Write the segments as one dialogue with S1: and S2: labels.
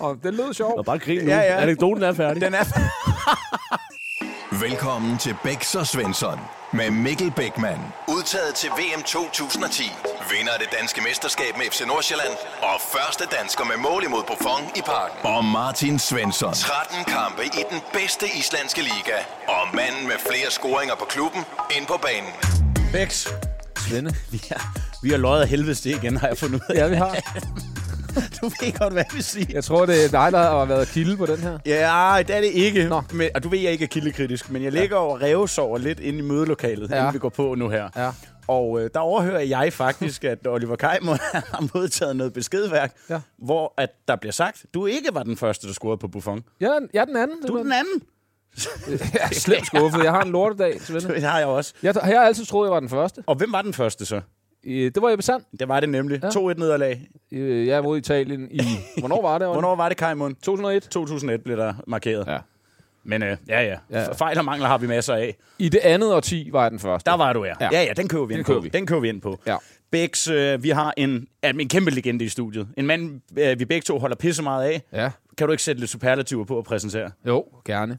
S1: og den lød sjov.
S2: Og bare grin nu.
S1: Ja,
S2: Ja,
S1: ja.
S2: ja. Anekdoten er færdig.
S1: Den er...
S3: Velkommen til Bæks og Svensson med Mikkel Bækman. Udtaget til VM 2010. Vinder af det danske mesterskab med FC Nordsjælland. Og første dansker med mål imod Buffon i parken. Og Martin Svensson. 13 kampe i den bedste islandske liga. Og manden med flere scoringer på klubben ind på banen.
S2: Bæks. Svende.
S4: Vi har, vi har løjet af helvedes det igen, har jeg fundet ud af.
S1: Ja, vi har.
S4: Du ved godt, hvad jeg vil sige.
S1: Jeg tror, det er dig, der har været kilde på den her.
S4: Ja, det er det ikke.
S1: Nå.
S4: Men, og du ved, jeg ikke er kildekritisk, men jeg ligger og revsover lidt inde i mødelokalet,
S1: Ja.
S4: ja. inden vi går på nu her.
S1: Ja.
S4: Og øh, der overhører jeg faktisk, at Oliver Kaj må have modtaget noget beskedværk,
S1: Ja.
S4: hvor at der bliver sagt, du ikke var den første, der scorede på Buffon.
S1: Jeg er, jeg er den anden.
S4: Du er den anden.
S1: Jeg er slemt skuffet. Jeg har en lortedag, Svende.
S4: Det har jeg også.
S1: Jeg, jeg har altid troet, jeg var den første.
S4: Og hvem var den første så?
S1: Øh, Det var Jeppe Sand.
S4: Det var det nemlig.
S1: Ja.
S4: Ja. 2-1 nederlag.
S1: Øh, Jeg er mod Italien i... Hvornår var det? Olli?
S4: Hvornår var det, Kaj Mund?
S1: 2001.
S4: 2001 blev der markeret.
S1: Ja.
S4: Men øh, ja, ja,
S1: Ja.
S4: ja. Fejl og mangler har vi masser af.
S1: I det andet årti var jeg den første.
S4: Der var du, ja.
S1: Ja.
S4: Ja, ja, den køber vi
S1: Den
S4: ind
S1: køber
S4: på.
S1: vi.
S4: Den køber vi ind på.
S1: Ja.
S4: Bæks, øh, vi har en, altså, en kæmpe legende i studiet. En mand, øh, vi begge to holder pisse meget af.
S1: Ja,
S4: Kan du ikke sætte lidt superlativer på at præsentere?
S1: jo, gerne.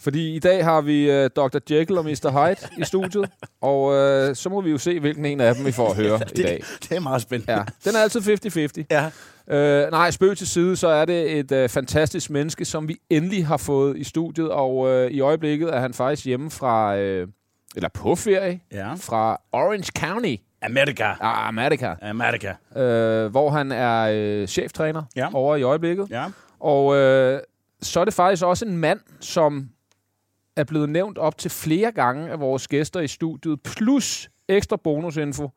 S1: Fordi i dag har vi øh, Dr. Jekyll og Mr. Hyde i studiet, og øh, så må vi jo se, hvilken en af dem vi får at høre i dag.
S4: det er meget spændende.
S1: Ja, den er altid 50-50.
S4: ja.
S1: Øh, nej, spøg til side, så er det et øh, fantastisk menneske, som vi endelig har fået i studiet, og øh, i øjeblikket er han faktisk hjemme fra, øh, eller på ferie,
S4: ja.
S1: fra Orange County,
S4: Amerika.
S1: ah, Amerika,
S4: Amerika.
S1: øh, hvor han er øh, cheftræner
S4: Ja.
S1: over i øjeblikket.
S4: Ja.
S1: Og øh, så er det faktisk også en mand, som er blevet nævnt op til flere gange af vores gæster i studiet, plus ekstra bonusinfo,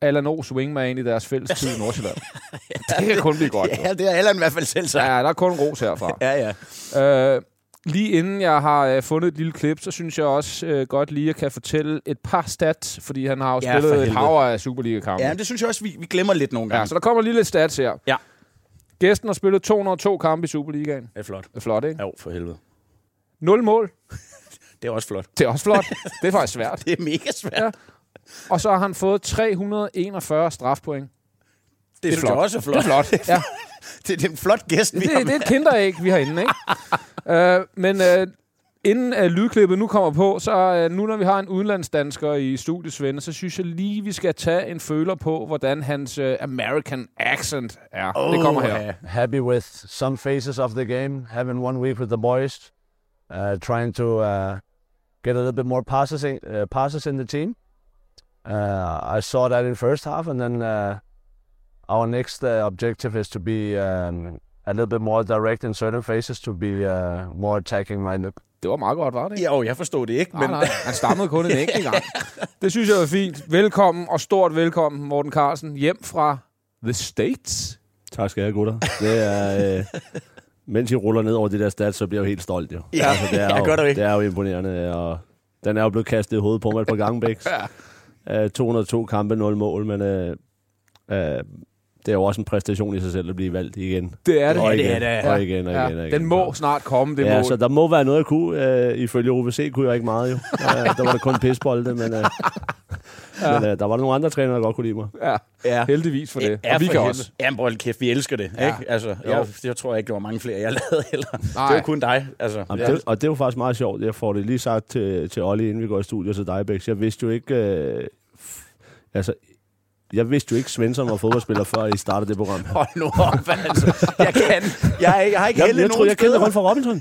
S1: Allan O's wingman i deres fælles tid i Nordsjælland. det kan kun blive godt. jo.
S4: Ja, det har Allan i hvert fald selv sagt.
S1: Ja, der er kun ros herfra.
S4: Ja, ja.
S1: Øh, lige inden jeg har øh, fundet et lille klip, så synes jeg også øh, godt lige, at jeg kan fortælle et par stats, fordi han har jo
S4: Ja,
S1: ja,
S4: for
S1: spillet et
S4: helvede.
S1: power af Superliga-kampe.
S4: Ja, men det synes jeg også, vi, vi glemmer lidt nogle gange.
S1: ja, så der kommer lige lidt stats her.
S4: Ja.
S1: Gæsten har spillet 202 kampe i Superligaen.
S4: Det er flot.
S1: Det er flot, ikke?
S4: Jo, for helvede.
S1: Nul mål.
S4: Det er også flot.
S1: Det er også flot. det er faktisk svært.
S4: Det er mega svært.
S1: Ja. Og så har han fået 341 strafpoint.
S4: Det, synes jeg
S1: flot.
S4: også er flot.
S1: Det er flot. Ja.
S4: Det, det er en flot gæst, vi
S1: Det,
S4: har
S1: det er et kinderæg, vi har inde, ikke? øh, men øh, inden øh, lydklippet nu kommer på, så øh, nu når vi har en udenlandsdansker i studiesvende, så synes jeg lige, vi skal tage en føler på, hvordan hans øh, American accent er. Oh, det kommer her.
S4: Åh, ja.
S5: happy with some phases of the game, having one week with the boys, uh, trying to uh, get a little bit more passes in, uh, passes in the team. Uh, I saw that in first half, and then uh, our next uh, objective is to be um, a little bit more direct in certain phases to be uh, more attacking minded.
S1: Det var meget godt, var det ikke?
S4: Ja, og jeg forstod det ikke,
S1: Nej,
S4: men
S1: nej, han stammede kun en enkelt gang. Det synes jeg var fint. Velkommen og stort velkommen, Morten Carlsen, hjem fra The States.
S2: Tak skal jeg have, gutter. Det er... Øh, mens I ruller ned over det der stats, så bliver jeg jo helt stolt, jo. Altså,
S4: Ja,
S2: det er
S4: ja,
S2: jo,
S4: gør du ikke.
S2: Det er jo imponerende, og den er jo blevet kastet i hovedet på mig et par gange, Bæks. Øh, 202 kampe, 0 mål, men øh, øh, det er jo også en præstation i sig selv at blive valgt igen.
S1: Det er det.
S2: og
S4: det
S2: igen,
S4: er det.
S2: Og igen, og igen, og igen.
S1: Den må snart komme, det
S2: ja,
S1: mål.
S2: så der må være noget, jeg kunne. Øh, ifølge OVC kunne jeg ikke meget, jo. Øh, der var det kun pisbolde, men, øh, ja. men øh, der var nogle andre trænere, der godt kunne lide mig.
S1: Ja.
S4: ja.
S1: Heldigvis for det.
S4: Ja,
S1: og vi
S4: for
S1: kan
S4: helvede.
S1: også.
S4: Ja, men prøv lige kæft, vi elsker det.
S1: Ja.
S4: Ja. Ikke? Altså,
S1: Jo.
S4: jeg, jeg tror ikke, det var mange flere, jeg lavede heller.
S1: Nej.
S4: Det var kun dig. Altså,
S2: Jamen,
S4: ja.
S2: det, og det er jo faktisk meget sjovt. Jeg får det lige sagt til, til Olli, inden vi går i studiet til dig, Bex. Jeg vidste jo ikke... Øh, f- altså, jeg vidste jo ikke, Svensson var fodboldspiller, før I startede det program. her.
S4: Hold nu op, altså. Jeg kan. Jeg, er ikke- jeg har ikke
S2: Jeg,
S4: hældet
S2: jeg, tror,
S4: nogen
S2: jeg kendte
S4: steder.
S2: Rolf fra Robinson.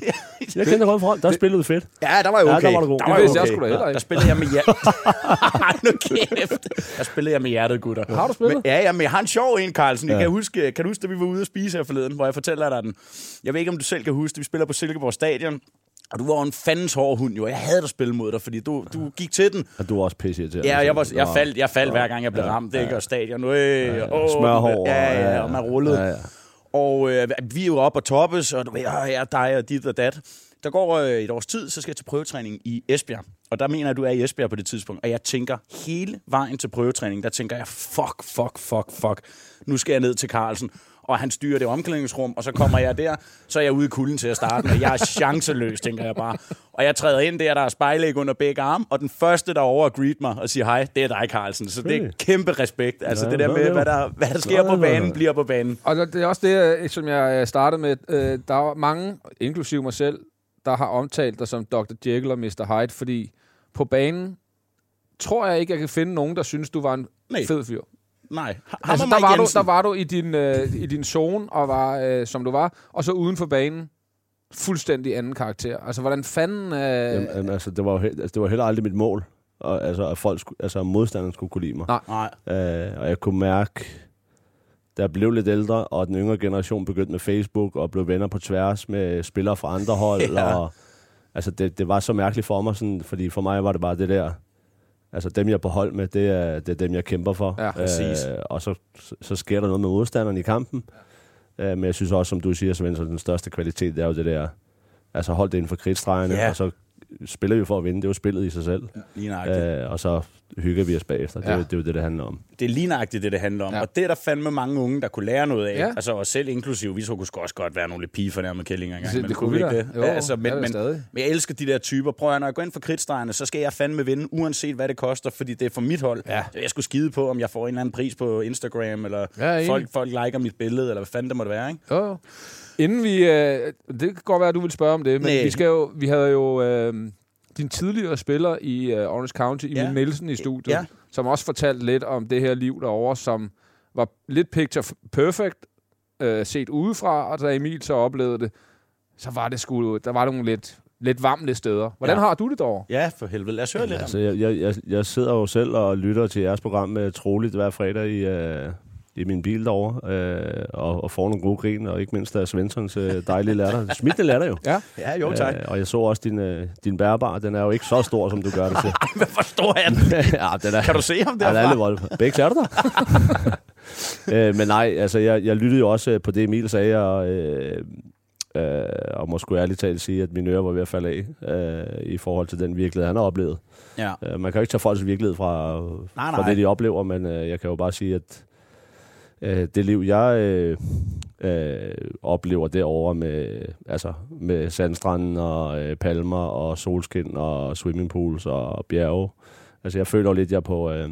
S2: Jeg kendte Rolf fra Der spillede du fedt.
S4: Ja, der var jo
S2: Ja, der
S4: okay.
S2: var du god. Det
S4: jo
S1: vidste jeg sgu da heller
S4: Der
S1: ikke.
S4: spillede jeg med hjertet. Hold nu kæft. Der spillede jeg med hjertet, gutter.
S1: Har du spillet?
S4: Men, ja, ja, men jeg har en sjov en, Carlsen. Jeg
S2: Ja.
S4: kan, huske, kan du huske, da vi var ude at spise her forleden, hvor jeg fortæller dig den? Jeg ved ikke, om du selv kan huske det. Vi spiller på Silkeborg Stadion. Og du var jo en fandens hård hund, jo. Jeg havde dig spillet mod dig, fordi du, du gik til den,
S2: Og du var også pisse til.
S4: Ja, jeg, var, jeg faldt, jeg faldt hver gang, jeg blev ramt. Det gør stadion. Øh, ja,
S2: Oh, Smørhår. og-
S4: Ja, ja, og man rullede.
S2: Ja, ja.
S4: Og øh, vi er jo op og toppes, og du ved, "Åh, jeg er dig og dit og dat. Der går øh, et års tid, så skal jeg til prøvetræning i Esbjerg. Og der mener jeg, at du er i Esbjerg på det tidspunkt. Og jeg tænker hele vejen til prøvetræning, der tænker jeg, fuck, fuck, fuck, fuck. Nu skal jeg ned til Carlsen. og han styrer det omklædningsrum, og så kommer jeg der, så er jeg ude i kulden til at starte med. Jeg er chanceløs, tænker jeg bare. Og jeg træder ind der, der er spejlæg under begge arme, og den første, der over og greet mig og siger hej, det er dig, Carlsen. Så det er kæmpe respekt. Altså
S2: Ja,
S4: det der
S2: hvad
S4: med,
S2: laver
S4: hvad
S2: du?
S4: der, hvad der sker på
S2: Hvad laver
S4: banen,
S2: du?
S4: bliver på banen.
S1: Og det er også det, øh, som jeg øh, startede med. Øh, Der er mange, inklusive mig selv, der har omtalt dig som Dr. Jekyll og Mr. Hyde, fordi på banen tror jeg ikke, jeg kan finde nogen, der synes, du var en
S4: Nej.
S1: fed fyr.
S4: Nej, ha- ham
S1: Altså,
S4: og
S1: der,
S4: Mike
S1: var du,
S4: Jensen.
S1: der var du i din, øh, i din zone, og var, øh, som du var, og så uden for banen, fuldstændig anden karakter. Altså, hvordan fanden... Øh,
S2: Jamen, jamen, altså, det var jo he- altså, det var heller aldrig mit mål, og, altså, at folk skulle, altså, at modstanderen skulle kunne lide mig.
S1: Nej.
S4: Nej,
S2: Øh, og jeg kunne mærke, da jeg blev lidt ældre, og den yngre generation begyndte med Facebook og blev venner på tværs med spillere fra andre hold.
S4: Ja.
S2: ja. og, altså, det, det var så mærkeligt for mig, sådan, fordi for mig var det bare det der, altså dem jeg er på hold med, det er, det er dem jeg kæmper for.
S1: Ja,
S4: præcis.
S2: Øh, og så, så sker der noget med modstanderen i kampen. Øh, men jeg synes også, som du siger, Svend, så den største kvalitet det er jo det der, altså hold det inden for kridtstregerne,
S4: Ja.
S2: og så spiller vi for at vinde. Det er jo spillet i sig selv.
S4: lige nøjagtigt.
S2: Øh, og så hygger vi os bagefter. Det, er
S1: Ja.
S2: jo- det er jo det, det handler om.
S4: det er lignagtigt, det det handler om.
S1: Ja.
S4: Ja. Og det er der fandme mange unge, der kunne lære noget af.
S1: Ja.
S4: Ja. Altså, og selv inklusive, vi to kunne sgu også godt være nogle lidt pigefornærmede kællinger engang.
S1: Det-
S4: men
S1: det
S4: kunne
S1: kunne
S4: vi
S1: vi
S4: ikke
S1: da.
S4: det?
S1: Jo,
S4: Ja, altså,
S1: jeg
S4: men,
S1: vil
S4: men,
S1: stadig.
S4: men jeg elsker de der typer. Prøv at høre, når jeg går ind for kridtstregerne, så skal jeg fandme vinde, uanset hvad det koster, fordi det er for mit hold. Ja. Så jeg skulle skide på, om jeg får en eller anden pris på Instagram, eller
S1: Ja,
S4: ja,
S1: enig.
S4: folk, folk liker mit billede, eller hvad fanden det måtte være, ikke?
S1: Jo, jo. Inden vi... Øh, det kan godt være, at du vil spørge om det, men
S4: Næ.
S1: vi, skal jo, vi havde jo øh, din tidligere spiller i øh, Orange County, Emil
S4: Ja.
S1: Nielsen, i studiet,
S4: Ja.
S1: som også fortalte lidt om det her liv derovre, som var lidt picture f- perfect øh, set udefra, og da Emil så oplevede det, så var det sgu... Der var nogle lidt, lidt varmle steder. Hvordan
S4: Ja.
S1: har du det derovre?
S4: Ja, for helvede. Lad os høre lidt om
S2: Altså, jeg, jeg, jeg, jeg sidder jo selv og lytter til jeres program uh, troligt hver fredag i, uh, i min bil derovre, uh, og, og får nogle gode grin, og ikke mindst af Svenssons uh, dejlige latter. Smittende latter jo.
S1: Ja.
S4: det. Ja, jo tak.
S2: Øh, og jeg så også din, uh, din bærbar. Den er jo ikke så stor, som du gør det til.
S4: Hvad forstår jeg den?
S2: ja, den er,
S4: Kan du se ham
S2: Ja, der er lidt
S4: derfra?
S2: vold. Bæks, er du der? øh, men nej, altså, jeg, jeg lyttede jo også øh, på det, Emil sagde, og, øh, øh, og må sgu ærligt talt sige, at mine ører var ved at falde af øh, i forhold til den virkelighed, han har oplevet.
S4: Ja.
S2: Øh, man kan jo ikke tage folks virkelighed fra,
S4: Nej,
S2: fra
S4: nej.
S2: det, de oplever, men øh, jeg kan jo bare sige, at øh, det liv, jeg øh, øh, oplever derovre med, altså, med sandstranden og øh, palmer og solskin og swimmingpools og bjerge, altså jeg føler jo lidt, jeg er på... Øh, øh,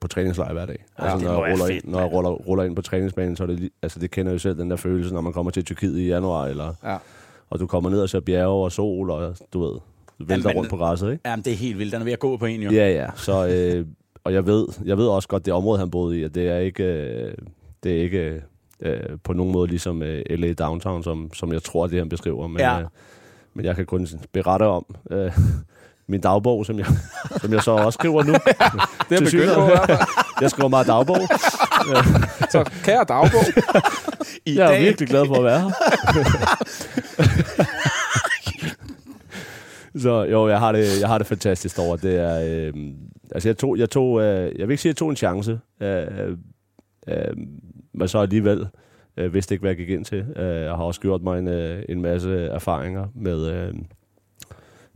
S2: på træningslejr hver dag.
S4: Ja,
S2: altså,
S4: det
S2: når
S4: må være
S2: jeg, ruller,
S4: fedt,
S2: ind, når jeg ruller, ruller ind på træningsbanen, så er det, li- altså, det kender jeg jo selv, den der følelse, når man kommer til Tyrkiet i januar, eller,
S1: Ja.
S2: og du kommer ned og ser bjerge og sol, og du ved, vælter
S4: men-
S2: rundt på græsset, ikke?
S4: Jamen, det er helt vildt. Den er ved at gå på en, jo.
S2: Ja, ja. Så, øh, og jeg ved, jeg ved også godt, det område, han boede i, at det er ikke, øh, det er ikke øh, på nogen måde ligesom øh, LA Downtown, som, som jeg tror, det han beskriver. Men,
S4: Ja.
S2: øh, men jeg kan kun berette om øh, min dagbog, som jeg, som jeg så også skriver nu.
S1: Det er
S2: Til
S1: begyndt på.
S2: synligheden.
S1: i hvert fald.
S2: Jeg skriver meget dagbog.
S1: Så kære dagbog,
S4: I
S2: Jeg er
S4: dag
S2: virkelig glad for at være her. Så jo, jeg har det, jeg har det fantastisk over. Det er, øh, altså jeg tog, jeg tog, øh, jeg vil ikke sige, at jeg tog en chance, øh, øh, men så alligevel øh, vidste ikke, hvad jeg gik ind til. Øh, jeg har også gjort mig en, øh, en masse erfaringer med øh,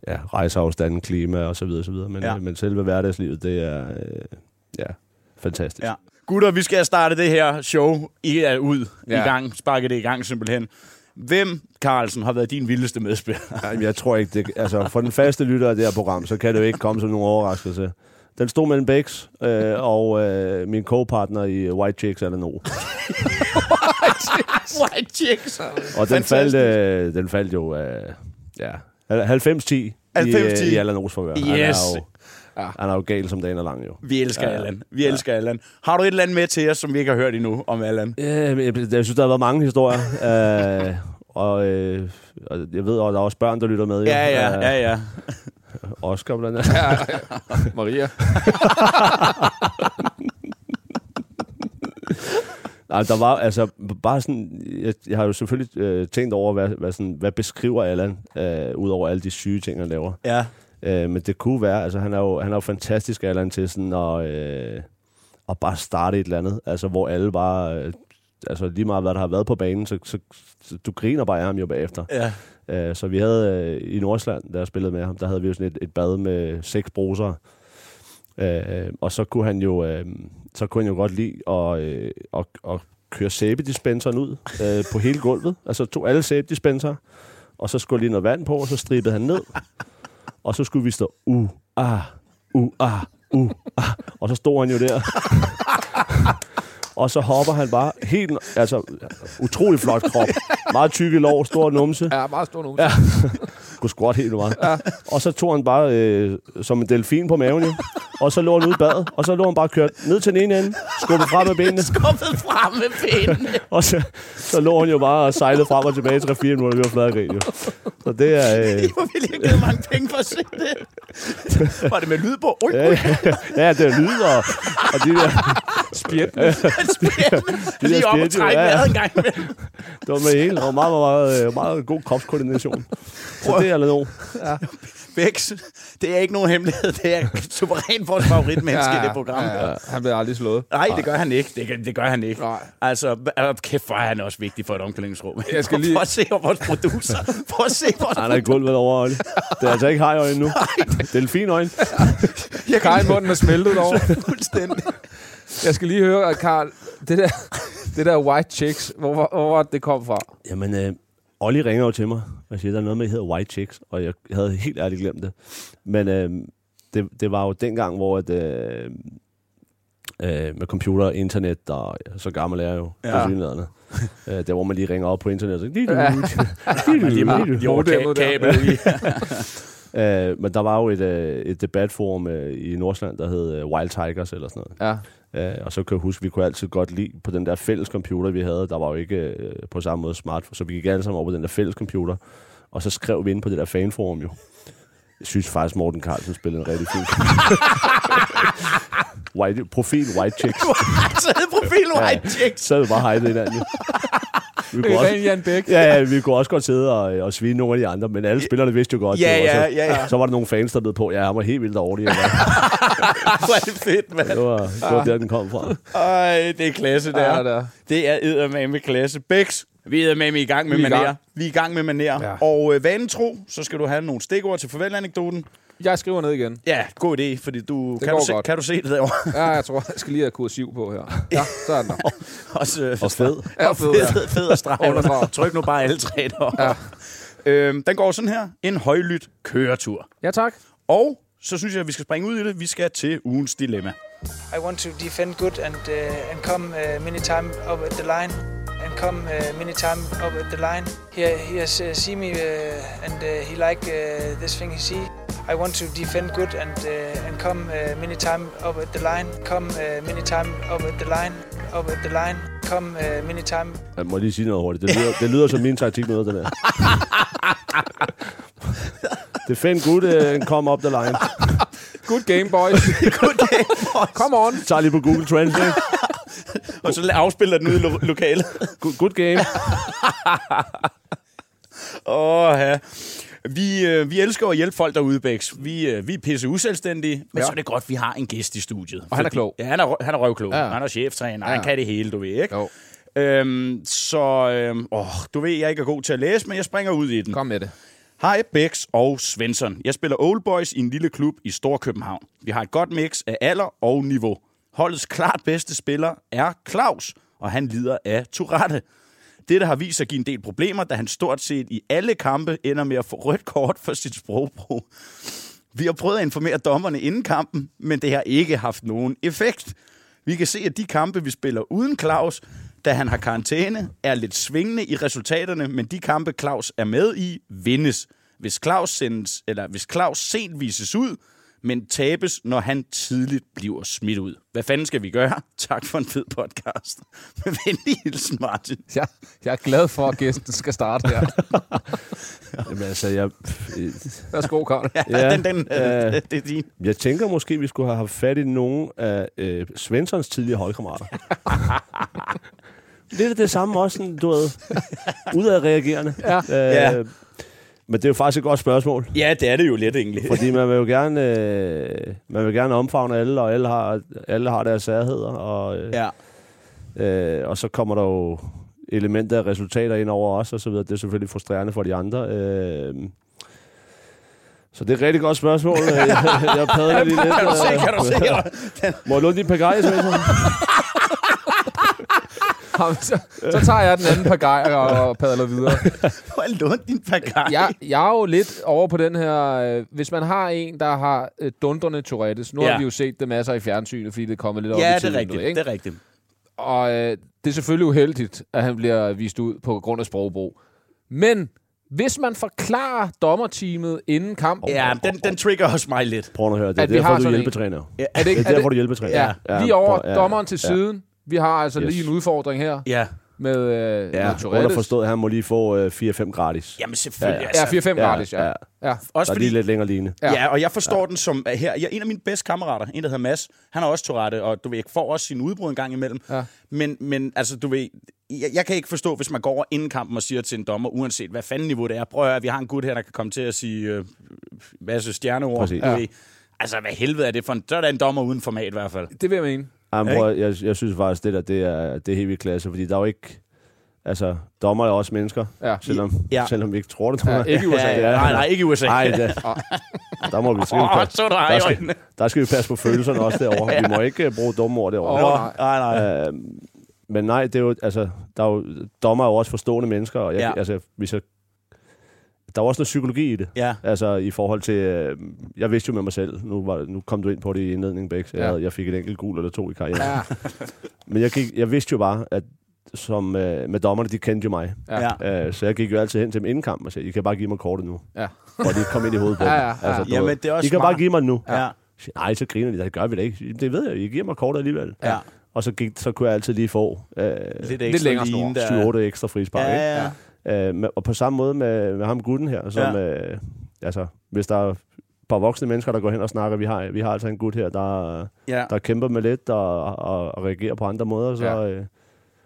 S2: ja, rejseafstanden, klima og så videre, så videre. Men,
S4: Ja.
S2: ja. men selve hverdagslivet, det er øh, ja, fantastisk.
S4: Ja. Gutter, vi skal starte det her show i, er ud
S1: Ja.
S4: ja. i gang. Sparke det i gang simpelthen. Hvem, Carlsen, har været din vildeste medspiller?
S2: Ej, men jeg tror ikke, det, altså for den faste lytter af det her program, så kan det jo ikke komme som nogen overraskelse. Den stod mellem Bex øh, og øh, min co-partner i White Chicks eller no.
S4: White chicks.
S2: Og den faldt, øh, den faldt jo øh, ja, hal- 90-10 i, øh,
S4: 90-10.
S2: i Allan Ros forvær. Han
S4: Yes.
S2: er jo, han er jo gal som dagen er lang jo.
S4: Vi elsker ja. Allan. Vi elsker Allan. Har du et eller andet med til os, som vi ikke har hørt endnu om Allan?
S2: Øh, jeg, jeg synes, der har været mange historier. øh, og, øh, og jeg ved, at der er også børn, der lytter med. jo. Øh,
S4: Ja, ja, ja, ja.
S2: Oscar blandt andet.
S1: Maria.
S2: Nej, der var altså bare sådan, jeg, jeg har jo selvfølgelig øh, tænkt over, hvad, hvad, sådan, hvad beskriver Allan, øh, ud over alle de syge ting, han laver.
S4: ja.
S2: Øh, men det kunne være, altså han er jo, han er jo fantastisk, Allan, til sådan at, øh, at bare starte et eller andet, altså hvor alle bare, øh, altså lige meget hvad der har været på banen, så, så, så du griner bare af ham jo bagefter.
S4: ja.
S2: Øh, så vi havde øh, i Nordsjælland, da jeg spillede med ham, der havde vi jo sådan et, et bad med seks bruser. Øh, og så kunne han jo, øh, så kunne han jo godt lide at, øh, at, at køre sæbedispenseren ud øh, på hele gulvet. Altså tog alle sæbedispenser, og så skulle lige noget vand på, og så strippede han ned. Og så skulle vi stå, u ah, u ah, u ah. Og så stod han jo der. Og så hopper han bare helt, altså utrolig flot krop. Meget tykke lår, stor numse.
S1: Ja, meget stor numse.
S2: Ja. Kunne squat helt meget. Ja. Og så tog han bare øh, som en delfin på maven, jo. Og så lå han ude i badet, og så lå han bare kørt ned til den ene ende, skubbet frem med benene,
S6: skubbet frem med benene.
S2: og så, så lå han jo bare og sejlede frem og tilbage i 3-4 minutter, vi var flade grin, jo. Så det er... Øh,
S6: Jeg ville have givet mange penge for at se det.
S4: Var det med lyd på? Ui,
S2: ja, ja, det er lyd, og, og de der,
S6: Spændende. Lige op og
S2: spændende,
S6: trække
S2: ja.
S6: vejret en gang imellem.
S2: det var med det hele, og meget, meget, meget, øh, meget god kropskoordination. Så det er noget.
S4: Bex, det er ikke nogen hemmelighed. Det er suverænt vores favoritmenneske ja, i det program. Ja, ja.
S1: Han bliver aldrig slået.
S4: Nej, det gør han ikke. Det, gør- det gør han ikke.
S1: Nej.
S4: Altså, hva- øh, kæft, hvor er han også vigtig for et omklædningsrum.
S1: Jeg skal lige-
S4: Prøv at se vores producer. Prøv at se vores...
S2: Han er i gulvet over øjne. Det er altså ikke hajøjne nu. Delfinøjne.
S1: Jeg kan ikke munden er smeltet over.
S4: Fuldstændig.
S1: Jeg skal lige høre, Karl, det der, det der white chicks, hvor, hvor, hvor var det, det kom fra?
S2: Jamen, øh, Olli ringer jo til mig og siger, der er noget med, der hedder White Chicks, og jeg havde helt ærligt glemt det. Men øh, det, det var jo dengang, hvor at, øh, øh, med computer og internet, og ja, så gammel er jeg jo,
S4: Ja.
S2: ja. på øh, der hvor man lige ringer op på internet, og så,
S1: Ja.
S4: Jo,
S1: Modemet
S4: ka-
S1: der.
S4: kabel i.
S2: øh, men der var jo et, øh, et debatforum øh, i Nordsjælland, der hed øh, Wild Tigers eller sådan noget.
S1: Ja.
S2: Øh, og så kan jeg huske, vi kunne altid godt lide på den der fælles computer, vi havde. Der var jo ikke øh, på samme måde smart, så vi gik alle sammen over på den der fælles computer. Og så skrev vi ind på det der fanforum jo. Jeg synes faktisk, Morten Carlsen spillede en rigtig fin white, Profil White Chicks.
S4: Så hed profil White Chicks.
S2: Så er det bare hejlet hinanden. jo. Vi
S1: Det
S2: kunne
S1: er ren
S2: også,
S1: Jan Bæk.
S2: ja, ja, vi kunne også godt sidde og, øh, og svine nogle af de andre, men alle spillerne vidste jo godt.
S4: Ja,
S2: det,
S4: ja,
S2: og så,
S4: ja, ja.
S2: så var der nogle fans, der blev på, ja, han var helt vildt dårlig. eller hvad.
S4: Hvor er det fedt, mand.
S2: Det var, det var der, den kom fra.
S4: Ej, det er klasse, det
S1: Ja,
S4: er.
S1: det er.
S4: Det er eddermame klasse. Bex, vi er eddermame i gang med
S1: Vi er i
S4: manér.
S1: gang.
S4: Vi er i gang med manér.
S1: Ja.
S4: Ja. Og øh, vanen tro, så skal du have nogle stikord til farvelanekdoten.
S1: Jeg skriver ned igen.
S4: Ja, god idé, fordi du... Kan
S1: går
S4: du, se,
S1: godt.
S4: kan du se det derovre?
S1: Ja, jeg tror, jeg skal lige have kursiv på her. Ja, så er den der.
S4: Også, øh,
S2: Og fed.
S1: Ja,
S4: og fed, fed, fed og streg.
S1: Underdrag.
S4: Tryk nu bare alle tre derovre. Ja. Øhm, den går sådan her. En højlydt køretur.
S1: Ja, tak.
S4: Og så synes jeg, at vi skal springe ud i det. Vi skal til ugens dilemma.
S7: I want to defend good and uh, and come uh, many time up at the line and come uh, many time up at the line. He he has uh, seen me uh, and uh, he like uh, this thing he see. I want to defend good and uh, and come uh, many time up at the line. Come uh, many time up at the line. Up at the line. Come uh, many time
S2: Jeg må lige sige noget hurtigt. Det lyder, det lyder som min taktik noget, den her. det fandt gut, øh, en kom op the line.
S1: Good game, boys. Come on.
S2: Tag lige på Google Translate.
S4: Og så afspiller den ud i lo- lokalet.
S2: Good, good game.
S4: Åh, ja. Vi, øh, vi elsker at hjælpe folk derude, Bex. Vi, øh, vi er pisse uselvstændige, men
S1: Ja.
S4: ja. så er det godt, at vi har en gæst i studiet. Og
S1: han er klog.
S4: Ja, han er, rø- han er røvklog.
S1: Ja.
S4: Ja. Han er cheftræner,
S1: Ja.
S4: ja. han kan det hele, du ved, ikke?
S1: Jo.
S4: Øhm, så, øhm, åh, du ved, jeg ikke er god til at læse, men jeg springer ud i den.
S1: Kom med det.
S4: Hej Bex og Svensson. Jeg spiller Old Boys i en lille klub i Storkøbenhavn. Vi har et godt mix af alder og niveau. Holdets klart bedste spiller er Claus, og han lider af Tourette. Dette har vist sig at give en del problemer, da han stort set i alle kampe ender med at få rødt kort for sit sprogbrug. Vi har prøvet at informere dommerne inden kampen, men det har ikke haft nogen effekt. Vi kan se, at de kampe, vi spiller uden Claus, da han har karantæne, er lidt svingende i resultaterne, men de kampe, Claus er med i, vindes. Hvis Claus, sendes, eller hvis Claus sent vises ud, men tabes, når han tidligt bliver smidt ud. Hvad fanden skal vi gøre? Tak for en fed podcast. Med venlig hilsen, Martin.
S1: Jeg, jeg er glad for, at gæsten skal starte her.
S2: Jamen, altså, jeg,
S1: Værsgo, Karl.
S4: Ja, den, den,
S2: ja.
S4: øh, det, det er din.
S2: jeg tænker måske, vi skulle have haft fat i nogen af øh, Svenssons tidligere holdkammerater. Lidt af det samme også, sådan, du ved, udadreagerende. Ja.
S4: Ja.
S2: Men det er jo faktisk et godt spørgsmål.
S4: Ja, det er det jo lidt egentlig.
S2: Fordi man vil jo gerne, øh, man vil gerne omfavne alle, og alle har, alle har deres særheder, og, øh,
S4: Ja.
S2: øh, og så kommer der jo elementer af resultater ind over os, og så videre. Det er selvfølgelig frustrerende for de andre. Øh, så det er et rigtig godt spørgsmål. Øh, jeg, jeg padler lige lidt. øh.
S4: Kan du se, kan du se?
S2: Må jeg låne din pagaje, Svensson?
S1: Jamen, så, så tager jeg den anden par gejer og padler videre.
S4: Hvor er lånt din pakke?
S1: Jeg, jeg er jo lidt over på den her... Øh, hvis man har en, der har øh, dundrende Tourettes... Nu ja. har
S4: Ja.
S1: vi jo set det masser i fjernsynet, fordi det er kommet lidt op i
S4: Ja, det
S1: tiden
S4: er
S1: nu,
S4: rigtigt.
S1: ikke?
S4: Det er rigtigt.
S1: Og øh, det er selvfølgelig uheldigt, at han bliver vist ud på grund af sprogbrug. Men hvis man forklarer dommerteamet inden kampen...
S4: Ja, den, den trigger også mig lidt.
S2: Prøv at høre, det er
S1: At vi har
S2: derfor, du er
S1: sådan en.
S2: hjælpetræner.
S4: Ja,
S1: er det,
S2: Det
S1: ikke,
S2: er
S1: er det,
S2: derfor, du er hjælpetræner.
S1: ja, lige
S2: prøv-
S1: over
S2: ja,
S1: dommeren til
S2: ja.
S1: siden. Vi har altså
S2: Yes.
S1: yes. lige en udfordring her
S4: Ja.
S1: med, øh,
S2: Ja,
S1: med Tourettes.
S2: underforstået, han må lige få øh, 4-5 gratis.
S4: Jamen selvfølgelig.
S1: Ja,
S4: Altså,
S1: 4-5 gratis, ja.
S2: ja.
S1: ja.
S2: Der
S4: også
S2: er lige
S4: fordi,
S2: lidt længere ligne.
S1: Ja.
S4: ja. ja, og jeg forstår den som at her. Jeg, en af mine bedste kammerater, en der hedder Mads, han har også Tourette, og du ved, ikke, får også sin udbrud en gang imellem.
S1: Ja.
S4: Men, men altså, du ved, jeg, jeg, kan ikke forstå, hvis man går over inden kampen og siger til en dommer, uanset hvad fanden niveau det er, prøv at høre, vi har en gut her, der kan komme til at sige øh, masse stjerneord.
S2: Præcis.
S4: Du ved. Altså, hvad helvede er det for en... Så er der en dommer uden format i hvert fald.
S1: Det vil jeg mene.
S2: Jamen, prøv, at- jeg, jeg synes faktisk, det der, det er, det er helt vildt klasse, fordi der er jo ikke... Altså, dommer er også mennesker,
S1: Ja.
S2: selvom, ja.
S4: Ja.
S2: selvom vi ikke tror det. Ja,
S1: ikke i USA.
S2: Ja, ja.
S4: Nej, nej, ikke i USA.
S2: Nej, det, der må vi se.
S4: Åh, så er der ej i
S2: der, skal,
S4: øjnene.
S2: der skal vi passe på følelserne også derovre. ja. Vi må ikke øh, bruge dumme ord derovre.
S1: Åh,
S4: Nå, nej, nej.
S2: Øh, men nej, det er jo, altså, der er jo, dommer er jo også forstående mennesker, og jeg, ja.
S4: Ja.
S2: altså, hvis jeg, der er jo også noget psykologi i det.
S4: Ja.
S2: Altså i forhold til, øh, jeg vidste jo med mig selv, nu, var, nu kom du ind på det i indledningen, Bæk, så
S1: Ja.
S2: ja. jeg, jeg fik et enkelt gul eller to i karrieren.
S1: Ja,
S2: Men jeg, gik, jeg vidste jo bare, at som øh, med dommerne, de kendte jo mig.
S1: ja.
S4: Ja.
S1: ja.
S2: Øh, så jeg gik jo altid hen til dem inden kamp og sagde, I kan bare give mig kortet nu.
S1: Ja.
S2: Og det kom ind i hovedet på
S1: Ja,
S2: dem.
S1: ja, ja.
S2: Altså, du
S4: Jamen,
S2: ved,
S4: det er også
S2: I kan bare
S4: smart."
S2: give mig det nu.
S4: Ja.
S2: Så, Nej, så griner de. Det gør vi da ikke. "Jamen, Det ved jeg. I giver mig kortet alligevel.
S4: Ja.
S2: Og så, gik, så kunne jeg altid lige få øh,
S4: Lidt
S1: Lidt
S4: ekstra
S1: længere
S4: lige
S1: snor.
S4: inden der.
S2: 7-8 ekstra frispark.
S4: Ja,
S2: ikke?
S4: ja,
S1: Ja.
S4: ja.
S2: Øh, men- og på samme måde med, med ham gutten her, som, ja. øh, altså, hvis der er et par voksne mennesker, der går hen og snakker, vi har, vi har altså en gut her, der,
S4: ja.
S2: der kæmper med lidt og, og, og reagerer på andre måder, så,
S1: Ja.
S2: ja. øh,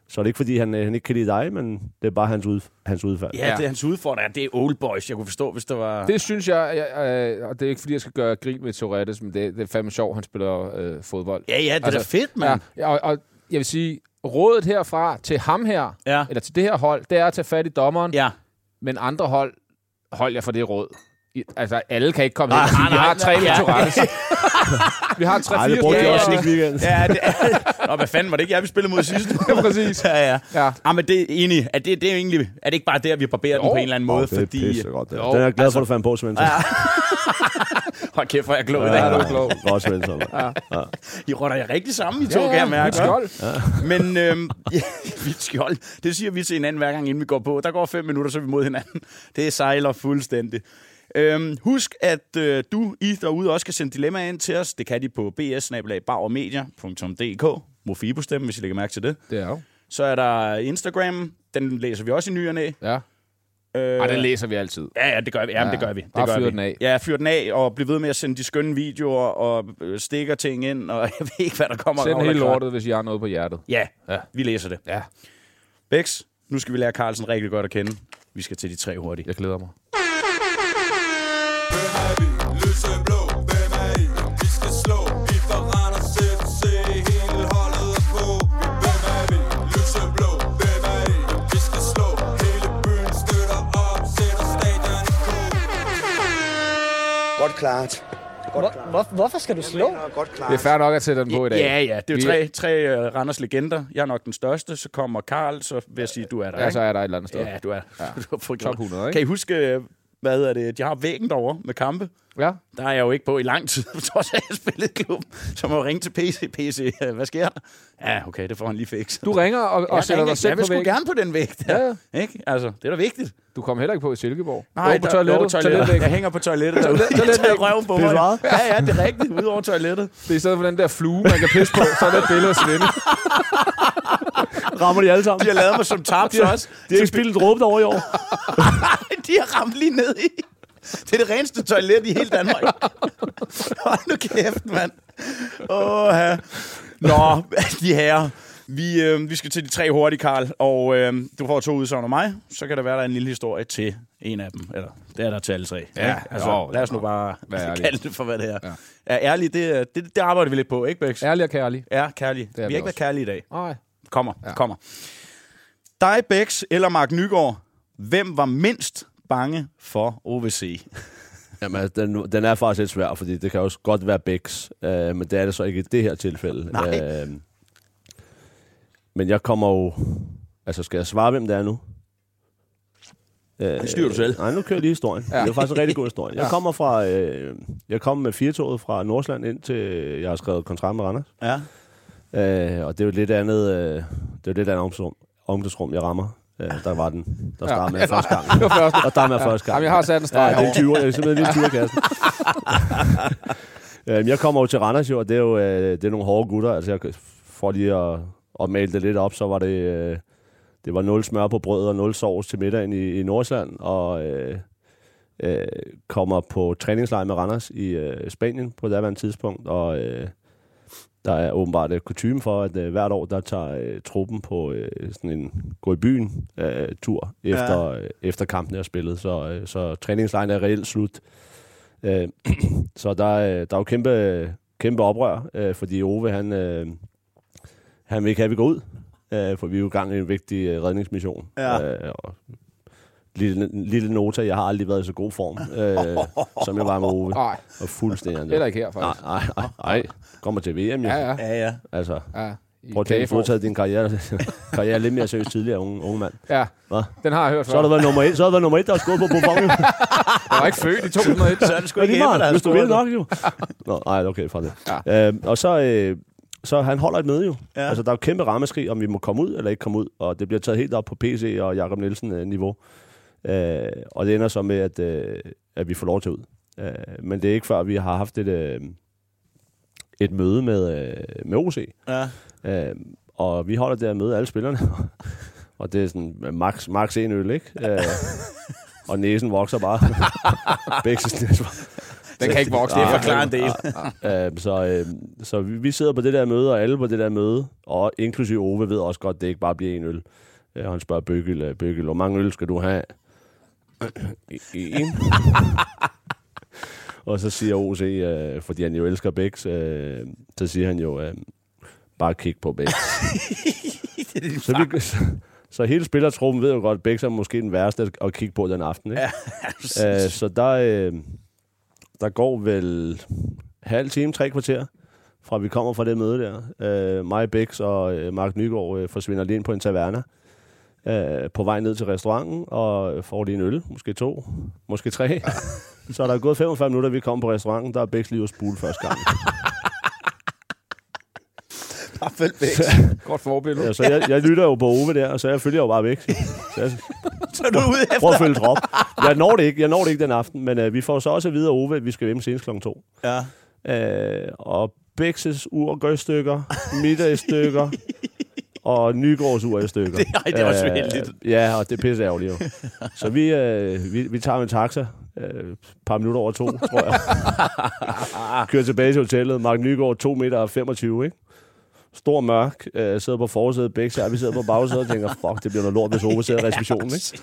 S2: så er det ikke, fordi han, øh, han ikke kan lide dig, men det er bare hans, ud, hans udfald.
S4: Ja, det er hans udfordring. Det er old boys. Jeg kunne forstå, hvis der var...
S1: Det synes jeg, jeg øh, og det er ikke fordi, jeg skal gøre grin med Tourettes, men det, det er fandme sjovt, han spiller øh, fodbold.
S4: Ja, ja, det er da
S1: Altså,
S4: fedt, mand.
S1: Ja, og, og jeg vil sige, rådet herfra til ham her,
S4: Ja.
S1: eller til det her hold, det er at tage fat i dommeren,
S4: Ja.
S1: men andre hold, hold jer for det råd. I, altså, alle kan ikke komme hen og
S4: Nej,
S1: sige, vi
S4: nej,
S1: har
S4: nej,
S1: tre
S4: ja.
S1: med Tourettes. Vi har tre,
S2: Ej, det
S1: fire
S2: brugte jeg
S1: spillere.
S2: også ikke weekend.
S4: Ja, det er... Nå, hvad fanden var det ikke jeg, vi spillede mod sidst?
S1: Ja, præcis.
S4: ja, ja.
S1: Ja.
S4: Ah, men det er enig. Er det, det er, jo egentlig, er det ikke bare der, vi barberer den
S1: Jo.
S4: på en eller anden måde?
S2: det er
S4: fordi...
S2: pissegodt. Det.
S1: Jo,
S2: Den er jeg glad for,
S4: Altså,
S2: at du fandt på, Svensson. Ja,
S4: Hold kæft, hvor er jeg klog i dag.
S1: du er klog.
S2: Godt, Svensson. Ja. Ja.
S4: I runder jer rigtig sammen, I to, kan jeg mærke.
S1: Skjold.
S4: Men øhm, ja, vildt skjold. Det siger vi til hinanden hver gang, inden vi går på. Der går fem minutter, så er vi mod hinanden. Det sejler fuldstændig. Øhm, husk, at øh, du, I derude, også kan sende dilemmaer ind til os. Det kan de på bs Mofibo stemme, hvis I lægger mærke til det.
S1: Det er jo.
S4: Så er der Instagram. Den læser vi også i nyerne.
S1: Ja.
S4: Øh,
S1: Ej, den læser vi altid.
S4: Ja, ja, det gør vi. Jamen, ja, det gør vi. Det
S1: bare
S4: gør
S1: fyr
S4: vi.
S1: den af.
S4: Ja, fyr den af, og bliv ved med at sende de skønne videoer, og øh, stikker ting ind, og jeg ved ikke, hvad der kommer.
S1: Send
S4: Ravler
S1: hele
S4: Kvart.
S1: lortet, hvis I har noget på hjertet.
S4: Ja,
S1: Ja.
S4: ja, vi læser det.
S1: Ja,
S4: Bex, nu skal vi lære Carlsen rigtig godt at kende. Vi skal til de tre hurtigt.
S1: jeg glæder mig.
S8: Lyseblå, hvem er I? Vi skal slå, vi fra Randers FC, hele holdet er på. Hvem er vi? Lyseblå, hvem er I? Vi skal slå, hele byen støtter op, sætter stadion i kog.
S9: Godt klart. Godt klart.
S7: Hvor, hvorfor skal du slå?
S9: Godt klart.
S1: Det er fair nok at sætte den på i dag.
S4: Ja, ja, det er jo
S1: Vi-
S4: tre, tre uh, Randers legender. Jeg er nok den største, så kommer Karl, så vil jeg sige, du er der,
S1: Ja, så
S4: ikke?
S1: er der et eller andet sted.
S4: Ja, du er. Ja. Du har fået
S1: Top 100, ikke?
S4: Kan I huske, øh, hvad er det? De har væggen derovre med kampe.
S1: Ja.
S4: Der er jeg jo ikke på i lang tid, på trods af, at jeg spillede i klubben. Så må jeg ringe til PC. PC, øh, hvad sker der? Ja, okay, det får han lige fikset.
S1: Du ringer og, og
S4: Jeg
S1: sætter
S4: ringer.
S1: dig selv
S4: Jeg vil
S1: på
S4: sgu
S1: væg.
S4: gerne på den væg der. Ja. Ikke? Altså, det er da vigtigt.
S1: Du kom heller ikke på i Silkeborg.
S4: Nej,
S1: Jo, på toilettet.
S4: jo,
S1: Toiletvæg.
S4: Jeg hænger på toilettet. Toilet,
S1: toiletvæg.
S4: toiletvæg. røven på
S2: Det er
S4: mig.
S2: meget.
S4: Ja, ja, det er rigtigt. Udover toilettet.
S1: Det er i stedet for den der flue, man kan pisse på, så er det et billede af Svende.
S2: Rammer de alle sammen?
S4: De har lavet mig som tabs også.
S2: De har ikke spillet dråbet over i år.
S4: De har ramt lige ned i. Det er det reneste toilet i hele Danmark. Hold nu kæft, mand. Åh, ja. Nå, de her. Vi, øh, vi skal til de tre hurtigt, Karl. Og øh, du får to udsagn af mig. Så kan der være, der er en lille historie til en af dem. Eller, det er der til alle tre.
S1: Ja,
S4: Ikke? altså,
S1: jo,
S4: lad os nu bare
S1: Vær ærlig.
S4: kalde det for, hvad det er.
S1: Ja.
S4: Ja. Ja, ærligt, det, er- det, det arbejder vi lidt på, ikke, Bex?
S1: Ærlig og kærlig.
S4: Ja, kærlig.
S1: er
S4: Vi har
S1: vi
S4: ikke været
S1: også.
S4: kærlige i dag.
S1: Nej.
S4: Kommer,
S1: Ja.
S4: ja. kommer. Dig, Bex eller Mark Nygaard, hvem var mindst bange for OVC?
S2: Jamen, altså, den, den er faktisk lidt svær, fordi det kan også godt være Bæks, øh, men det er det så ikke i det her tilfælde.
S4: Nej.
S2: Øh, Men jeg kommer jo... Altså, skal jeg svare, hvem det er nu? Øh,
S4: Det styrer du selv.
S2: Nej, nu kører jeg lige historien. Ja. Det er faktisk en rigtig god historie. Jeg kommer fra... Øh, jeg kom med firetoget fra Nordsjælland ind til... Jeg har skrevet kontrakt med Randers.
S4: Ja.
S2: Øh, og det er jo et lidt andet... Øh, det er jo et lidt andet omklædningsrum, omklædningsrum, jeg rammer. Øh, der var den. Der starter med første gang.
S1: Det var første.
S2: Og der er med første gang.
S1: Jamen, jeg har sat en streg
S2: Ja, det er 20 år. Jeg er simpelthen lige 20 kassen. øhm, jeg kommer jo til Randers jo, og det er jo øh, det er nogle hårde gutter. Altså, jeg, for lige at, at male det lidt op, så var det... Øh, det var nul smør på brød og nul sovs til middagen i, i Nordsjælland, og øh, øh, kommer på træningslejr med Randers i øh, Spanien på det daværende tidspunkt, og øh, der er åbenbart øh, kutume for, at øh, hvert år, der tager øh, truppen på øh, sådan en gå i byen øh, tur efter, ja. øh, efter kampen er spillet, så, øh, så træningslejren er reelt slut. Øh, så der, øh, der er jo kæmpe, kæmpe oprør, øh, fordi Ove, han, øh, han vil ikke have, at vi går ud, øh, for vi er jo i gang i en vigtig øh, redningsmission.
S4: Ja.
S2: Øh, og lille, lille nota, jeg har aldrig været i så god form, øh, som jeg var med Ove.
S1: Nej,
S2: Og fuldstændig.
S1: heller ikke her,
S2: Nej,
S1: faktisk.
S2: nej, nej, nej. Kommer til VM,
S1: Ja,
S2: ja.
S1: ja.
S4: Ja, ja.
S2: Altså,
S1: ja. I
S2: prøv at tænke, du har
S1: kageform.
S2: taget din karriere, karriere lidt mere seriøst tidligere, unge, unge mand.
S1: Ja,
S2: Hva?
S1: den har jeg hørt
S2: Så har
S1: før.
S2: du været nummer et, så har du været nummer et, der har skåret på bombongen.
S1: Jeg var ikke født i 2001.
S4: Så er det sgu
S2: Det er
S4: ikke
S2: lige
S4: Ebbe, der
S2: meget,
S4: har
S2: hvis du
S4: scoret
S2: vil
S4: det.
S2: nok jo. Nå, nej, okay, fra det. Ja. Øhm, og så, øh, så han holder et møde jo. Ja. Altså, der er jo kæmpe rammeskrig, om vi må komme ud eller ikke komme ud, og det bliver taget helt op på PC og Jakob Nielsen-niveau. Øh, og det ender så med, at, øh, at vi får lov til ud. Øh, men det er ikke før, vi har haft et, øh, et møde med, øh, med OC.
S4: Ja.
S2: Øh, og vi holder det her møde, alle spillerne. og det er sådan øh, max, max en øl, ikke? Øh, og næsen vokser bare. Bækses næse
S1: Den kan ikke vokse.
S4: Det
S2: Ah,
S4: forklarer en del.
S2: Øh, så, øh, så vi, vi sidder på det der møde, og alle på det der møde, og inklusive Ove ved også godt, at det ikke bare bliver en øl. Øh, og han spørger Bøgel, øh, Bøgel, hvor mange øl skal du have? "E- en. og så siger OC, øh, fordi han jo elsker Bæks, øh, så siger han jo, øh, bare kig på Bæks. så, vi, så, så hele spillertruppen ved jo godt, at Bæks er måske den værste at kigge på den aften. Ikke? Ja, så der, øh, der går vel halv time, tre kvarter, fra vi kommer fra det møde der. Øh, mig, Bæks og øh, Mark Nygaard øh, forsvinder lige ind på en taverna. Øh, på vej ned til restauranten og får lige en øl, måske to, måske tre. så er der gået 45 minutter, vi kommer på restauranten, der er Bæks lige ude at spule første gang.
S4: Bare følg væk.
S1: Godt forbillede.
S2: Ja, så jeg, jeg lytter jo på Ove der, og så jeg følger jo bare væk. Så jeg,
S4: Så er du ude efter.
S2: prøver at følge trop. Jeg når det ikke, jeg når det ikke den aften, men øh, vi får så også at vide af Ove, at vi skal hjem senest kl. 2.
S4: Ja.
S2: Øh, og Bexes ur går i stykker, middag i stykker, og Nygaards ur i stykker. Det,
S4: ej, det er også uheldigt.
S2: Ja, og det er pisse ærgerligt jo. Så vi, øh, vi, vi tager en taxa, øh, et par minutter over to, tror jeg. Kører tilbage til hotellet, Mark Nygaard, 2 meter og 25, ikke? Stor mørk, øh, sidder på forsædet, Bækse, og vi sidder på bagsædet og tænker, fuck, det bliver noget lort, hvis Ove sidder i receptionen, ikke?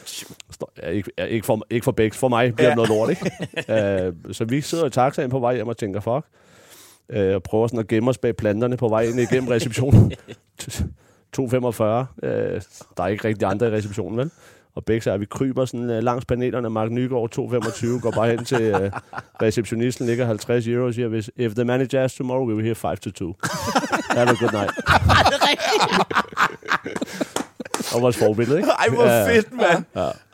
S2: Står- ja, ikke, ja, ikke, for, ikke for Bæks, for mig bliver ja. noget lort, ikke? øh, så vi sidder i taxaen på vej hjem og tænker, fuck, øh, og prøver sådan at gemme os bag planterne på vej ind igennem receptionen. 2.45, øh, der er ikke rigtig andre i receptionen, vel? Og begge siger, vi kryber sådan øh, langs panelerne, Mark Nygaard 2.25, går bare hen til øh, receptionisten, ligger 50 euro og siger, "Hvis- if the manager asks tomorrow, we will hear 5 to 2. Have a good night. og vores forbillede, ikke?
S4: Ej, hvor
S2: Ja, ja.
S4: fedt, mand.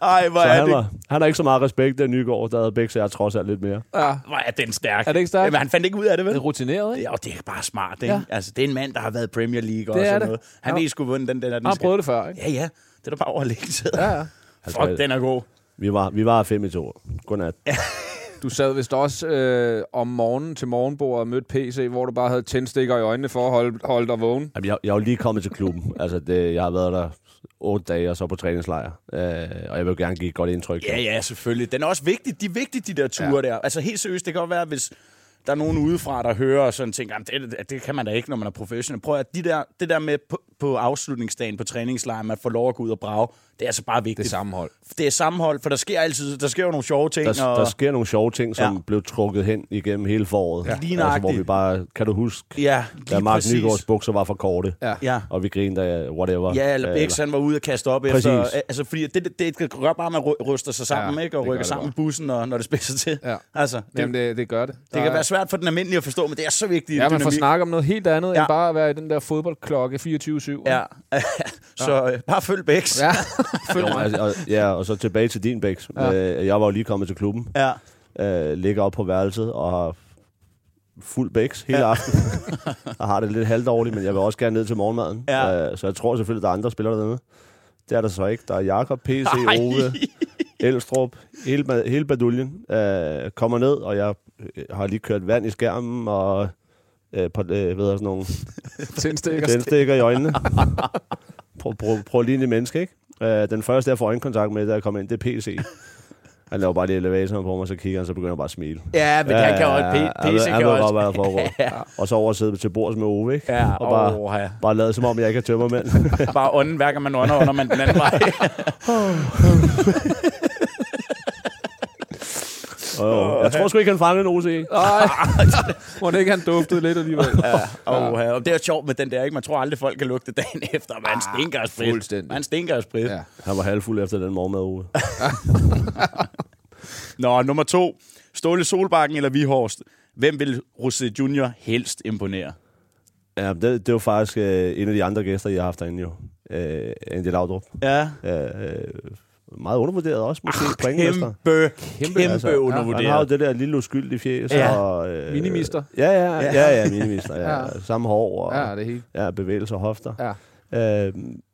S4: Ej, hvor
S2: Så
S4: er
S2: han,
S4: det
S2: var, han har ikke så meget respekt, den Nygaard, der havde begge sager trods alt lidt mere.
S4: Hvor er den stærk.
S1: Er det ikke stærkt?
S4: Jamen, han fandt ikke ud af det, vel?
S1: Det er rutineret, ikke?
S4: Det, og det er bare smart, ikke?
S1: Ja.
S4: Ja. Altså, det er en mand, der har været i Premier League og
S1: Det er
S4: sådan
S1: det.
S4: noget. Han
S1: Ja.
S4: ved sgu, hvordan den der... Den
S1: Han har prøvet det før, ikke?
S4: Ja, ja. Det er da bare overlæggelse.
S1: Ja, ja.
S4: Fuck, den er god.
S2: Vi var, vi var fem i to. Godnat.
S1: Du sad vist også øh, om morgenen til morgenbordet og mødte PC, hvor du bare havde tændstikker i øjnene for at holde, holde dig vågen.
S2: Jamen, jeg, jeg er jo lige kommet til klubben. altså, det, jeg har været der otte dage og så på træningslejr. Øh, og jeg vil jo gerne give et godt indtryk.
S4: Ja, ja, selvfølgelig. Den er også vigtig. De er vigtige, de der ture ja. der. Altså helt seriøst, det kan godt være, hvis der er nogen udefra, der hører og sådan tænker, "Jamen, det, det kan man da ikke, når man er professionel. Prøv at de der, det der med på, på afslutningsdagen på træningslejren, man får lov at gå ud og brage, det er altså bare vigtigt.
S1: Det sammenhold.
S4: Det er sammenhold, for der sker altid, der sker jo nogle sjove ting.
S2: Der,
S4: og,
S2: der sker nogle sjove ting, som
S4: Ja.
S2: ja. blev trukket hen igennem hele foråret.
S4: Ja. Lige
S2: altså, hvor
S4: nøjagtigt.
S2: vi bare, kan du huske,
S4: ja,
S2: da
S4: lige
S2: Mark
S4: præcis.
S2: Nygaards bukser var for korte,
S1: Ja.
S4: Ja.
S2: og vi grinede af whatever.
S4: Ja, eller Bix, han var ude og kaste op
S2: Præcis.
S4: efter. Altså, fordi det, det, det gør bare, at man ry- ryster sig sammen,
S1: Ja,
S4: ikke? Og
S1: det gør
S4: rykker
S1: det
S4: sammen i
S1: bare.
S4: bussen, og, når det spidser til.
S1: Ja.
S4: Altså, det,
S1: Jamen, det, det gør det.
S4: det kan være svært for den almindelige at forstå, men det er så vigtigt.
S1: Ja, man får
S4: dynamik.
S1: snakket om noget helt andet, ja.
S4: Ja.
S1: end bare at være i den der fodboldklokke 24-7. syv.
S4: Ja. så øh, bare følg Bæks.
S1: Ja, følg
S2: Jo,
S1: mig.
S2: altså, og, ja, og så tilbage til din bæks.
S1: Ja.
S2: Ja. Jeg var jo lige kommet til klubben,
S4: Ja.
S2: øh, ligger op på værelset og har fuld bæks hele ja. aftenen. og har det lidt halvdårligt, men jeg vil også gerne ned til morgenmaden.
S4: Ja.
S2: Øh, så jeg tror selvfølgelig, der er andre spillere dernede. Det er der så ikke. Der er Jakob, PC, Ove, Elstrup, hele, ba- hele baduljen øh, kommer ned, og jeg øh, har lige kørt vand i skærmen og øh, på, øh, ved jeg, sådan nogle
S1: Tændstikker.
S2: tændstikker i øjnene. prøv, prøv, prøv lige en menneske, ikke? Øh, den første, jeg får øjenkontakt med, da jeg kommer ind, det er PC. Han laver bare lige elevatoren på mig, så kigger han, så begynder han bare at smile.
S4: Ja, men ja, han kan også...
S2: han
S4: P-
S2: ved-
S4: PC
S2: han
S4: kan
S2: ved godt,
S4: også...
S2: hvad der foregår. Og så over at sidde til bords med Ove, ikke?
S4: Ja,
S2: og bare,
S4: åh, ja.
S2: bare lade som om, jeg ikke er tømmermænd.
S4: Bare ånden, hver gang man ånder, ånder man den anden vej.
S2: og, og, jeg tror sgu ikke, han fangede en OC.
S1: Nej, må det ikke han duftede lidt alligevel.
S4: Ja. Og, øh, og det er jo sjovt med den der, ikke? Man tror aldrig, folk kan lugte dagen efter, man stinker af sprit.
S1: fuldstændig.
S4: Man stinker af sprit.
S1: Ja.
S4: Ja.
S2: Han var halvfuld efter den morgenmad, Ove.
S4: Nå, nummer to. Ståle Solbakken eller Vihorst? Hvem vil Rosé Junior helst imponere?
S2: Ja, det, det var faktisk øh, en af de andre gæster, jeg har haft derinde jo. Øh, Andy Laudrup.
S4: Ja.
S2: Øh, øh, meget undervurderet også, måske. pointmester.
S4: Ah, Kæmpe, kæmpe,
S2: Altså,
S4: kæmpe
S2: Han har jo
S4: undervurderet.
S2: det der lille uskyldige fjes.
S4: Ja.
S2: Og, øh,
S1: Minimister.
S2: Ja, ja, ja, ja minimister. Ja.
S1: Ja.
S2: ja. Samme hår og
S1: Ja,
S2: ja.
S1: det er helt.
S2: Ja, bevægelser og hofter.
S1: Ja.
S2: Øh,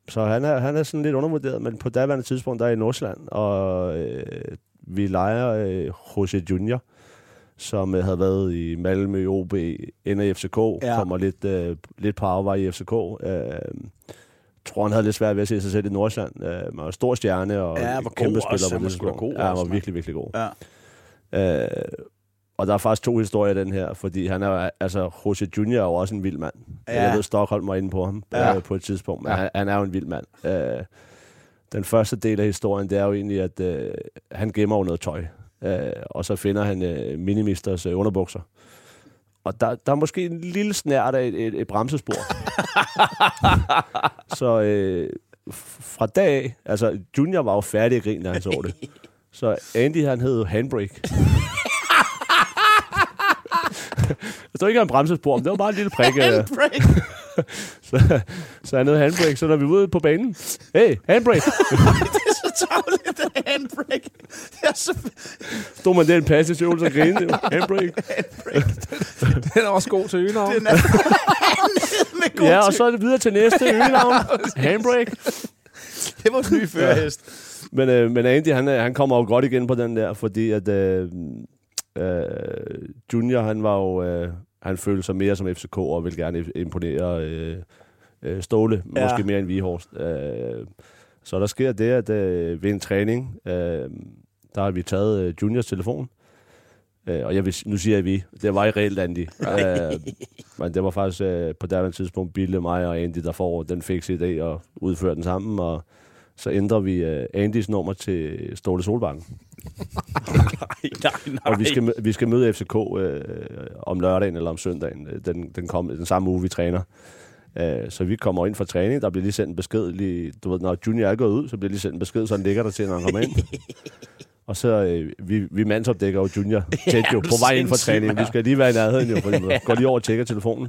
S2: så han er, han er sådan lidt undervurderet, men på daværende tidspunkt, der er i Nordsjælland, og øh, vi leger øh, Jose Junior, som øh, havde været i Malmø, OB, ender i FCK,
S4: Ja.
S2: ja. kommer lidt, øh, lidt på afvej i FCK. Øh, tror, han havde lidt svært ved at se sig selv i Nordsjælland. Øh, man var stor stjerne og
S4: Ja,
S2: ja,
S4: var god
S2: kæmpe
S4: også.
S2: spiller
S4: Han
S2: på
S4: var
S2: det
S4: sgu da god
S2: tidspunkt. Ja, han
S4: også,
S2: var
S4: mand.
S2: virkelig, virkelig god.
S4: Ja.
S2: Øh, og der er faktisk to historier i den her, fordi han er, altså, Jose Junior er jo også en vild mand.
S4: Ja.
S2: Ja. Jeg ved, Stockholm var inde på ham
S4: Ja.
S2: ja. øh, på et tidspunkt, men
S1: Ja.
S2: ja. han, han er jo en vild mand. Øh, den første del af historien, det er jo egentlig, at øh, han gemmer jo noget tøj, øh, og så finder han øh, minimisters øh, underbukser. Og der, der er måske en lille snært af et, et, et bremsespor. så øh, f- fra dag af, altså Junior var jo færdig i grin, da han så det. Så Andy, han hed jo Handbrake. Jeg tror ikke, han bremsespor, men det var bare en lille prik. øh, så, så er nede handbrake, så når vi er ude på banen. Hey, handbrake!
S4: så tavligt af handbrake. Det er så
S2: Stod man der i en passesøvelse og grinede. jo. Handbrake.
S1: Den er også god til øgenavn.
S4: den er med god
S2: Ja, og så er det videre til næste øgenavn. Handbrake.
S4: Det var den nye førhest.
S2: Men, øh, men Andy, han, øh, han kommer jo godt igen på den der, fordi at øh, øh, Junior, han var jo... Øh, han følte sig mere som FCK og ville gerne imponere øh, øh, Ståle,
S4: Ja.
S2: ja. måske mere end Vihorst. Øh, så der sker det, at øh, ved en træning, øh, der har vi taget øh, Juniors telefon. Øh, og jeg vil, s- nu siger jeg vi. Det var i reelt Andy. øh, men det var faktisk øh, på derværende tidspunkt Bille, mig og Andy, der får den fikse idé og udfører den sammen. Og så ændrer vi øh, Andys nummer til Ståle Solbakken.
S4: Nej, nej, nej.
S2: Og vi skal, mø- vi skal møde FCK øh, om lørdagen eller om søndagen. Øh, Den, den, kom, den samme uge, vi træner. Øh, så vi kommer ind fra træning, der bliver lige sendt en besked. Lige, du ved, når Junior er gået ud, så bliver lige sendt en besked, så han ligger der til, når han kommer ind. Og så, øh, vi, vi mandsopdækker jo Junior tæt jo,
S4: du
S2: på vej ind fra
S4: sindssyg,
S2: træningen. Vi
S4: mand.
S2: skal lige være i nærheden jo, for vi går lige over og tjekker telefonen.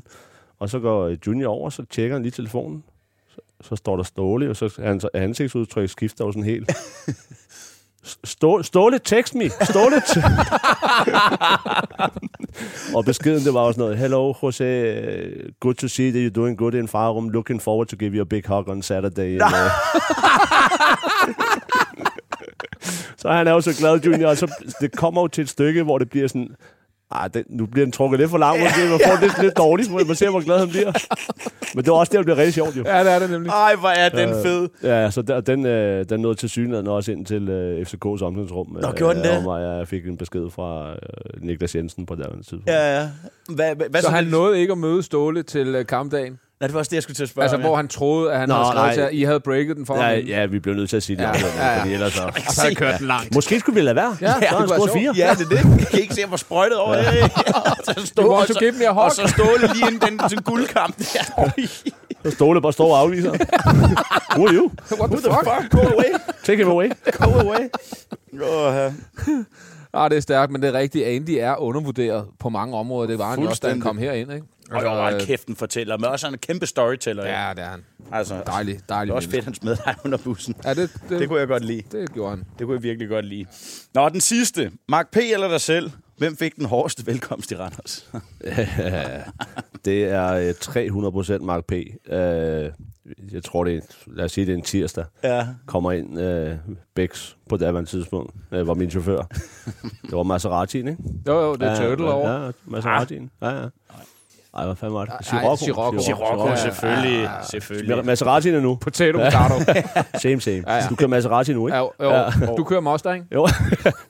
S2: Og så går øh, Junior over, så tjekker han lige telefonen. Så, så står der Ståle, og så hans ansigtsudtryk skifter jo sådan helt. Stå, ståle, text me. Ståle. T- og beskeden, det var også noget. Hello, Jose. Good to see that you're doing good in Farum. Looking forward to give you a big hug on Saturday. And, uh, så han er jo så glad, Junior. Og så det kommer jo til et stykke, hvor det bliver sådan... Ah, den, nu bliver den trukket lidt for langt. måske. Man får det lidt, lidt dårligt. Man ser, hvor glad han bliver. Men det var også det, der blev rigtig sjovt, jo.
S1: Ja, det er det nemlig.
S4: Ej, hvor er den
S2: Øh.
S4: fed.
S2: Ja, så der, den, øh, den nåede til synligheden også ind til øh, FCK's omklædningsrum. Nå,
S4: gjorde den det?
S2: Om, og jeg fik en besked fra øh, Niklas Jensen på det tidspunkt.
S4: Ja, ja. Hvad, hvad, hvad
S1: Så han
S4: det-
S1: nåede ikke at møde Ståle til øh, kampdagen?
S4: Nej, det var også det, jeg skulle til at spørge
S1: Altså,
S4: om, ja.
S1: hvor han troede, at han
S2: Nå,
S1: havde skrevet
S2: nej.
S1: til, at I havde breaket den for ham.
S2: Ja, ja, vi blev nødt til at sige det.
S1: Ja,
S2: Ja,
S1: ja,
S2: ja,
S1: ja.
S2: ja. Fordi ellers så...
S1: Og så havde kørt den langt.
S2: Måske skulle vi lade være.
S1: Ja,
S2: Ja, så
S1: det
S2: har han
S1: kunne
S2: scoret
S1: være
S2: fire.
S1: sjovt.
S4: Ja, det er det. Jeg kan ikke se, hvor sprøjtet over det er. Så stå,
S1: Du må også give dem jer
S4: og
S1: hok.
S4: så ståle lige inden den, den guldkamp der.
S2: Så Ståle bare står og afviser. Who are you?
S1: What the fuck?
S4: Go away.
S2: Take him away.
S4: Go away. Oh, ja.
S1: Ah, det er stærkt, men det er rigtigt. Andy er undervurderet på mange områder. Det var han jo også, da han kom herind. Ikke?
S4: Og jo, hold kæft, den fortæller. Men også er han en kæmpe storyteller. Ja.
S1: Ja, det er han.
S4: Altså, det
S1: Dejlig, dejlig
S4: er også fedt, han smed dig under bussen.
S1: Ja, det, det,
S4: Det kunne jeg godt lide.
S1: det gjorde han.
S4: Det kunne jeg virkelig godt lide. Nå, den sidste. Mark P. eller dig selv? Hvem fik den hårdeste velkomst i Randers?
S2: Det er øh, 300 procent Mark P. Øh, jeg tror, det er, lad os sige, det er en tirsdag.
S4: Ja.
S2: Kommer ind øh, Bex på det her tidspunkt, øh, var min chauffør. det var Maseratiin, ikke?
S1: Jo, jo, det er Turtle
S2: ja,
S1: over. Ah.
S2: Ja, Maseratiin. Ja, ja. Ej, hvad fanden var det?
S1: Ej, Scirocco.
S4: Sirocco,
S1: Ja, ja,
S4: selvfølgelig. selvfølgelig.
S2: Maseratiin er nu.
S1: Potato, potato.
S2: Same, same.
S1: Ja, ja.
S2: Du kører Maserati nu, ikke?
S1: ja, jo, jo.
S2: Ja.
S1: Du kører Mustang.
S2: Jo,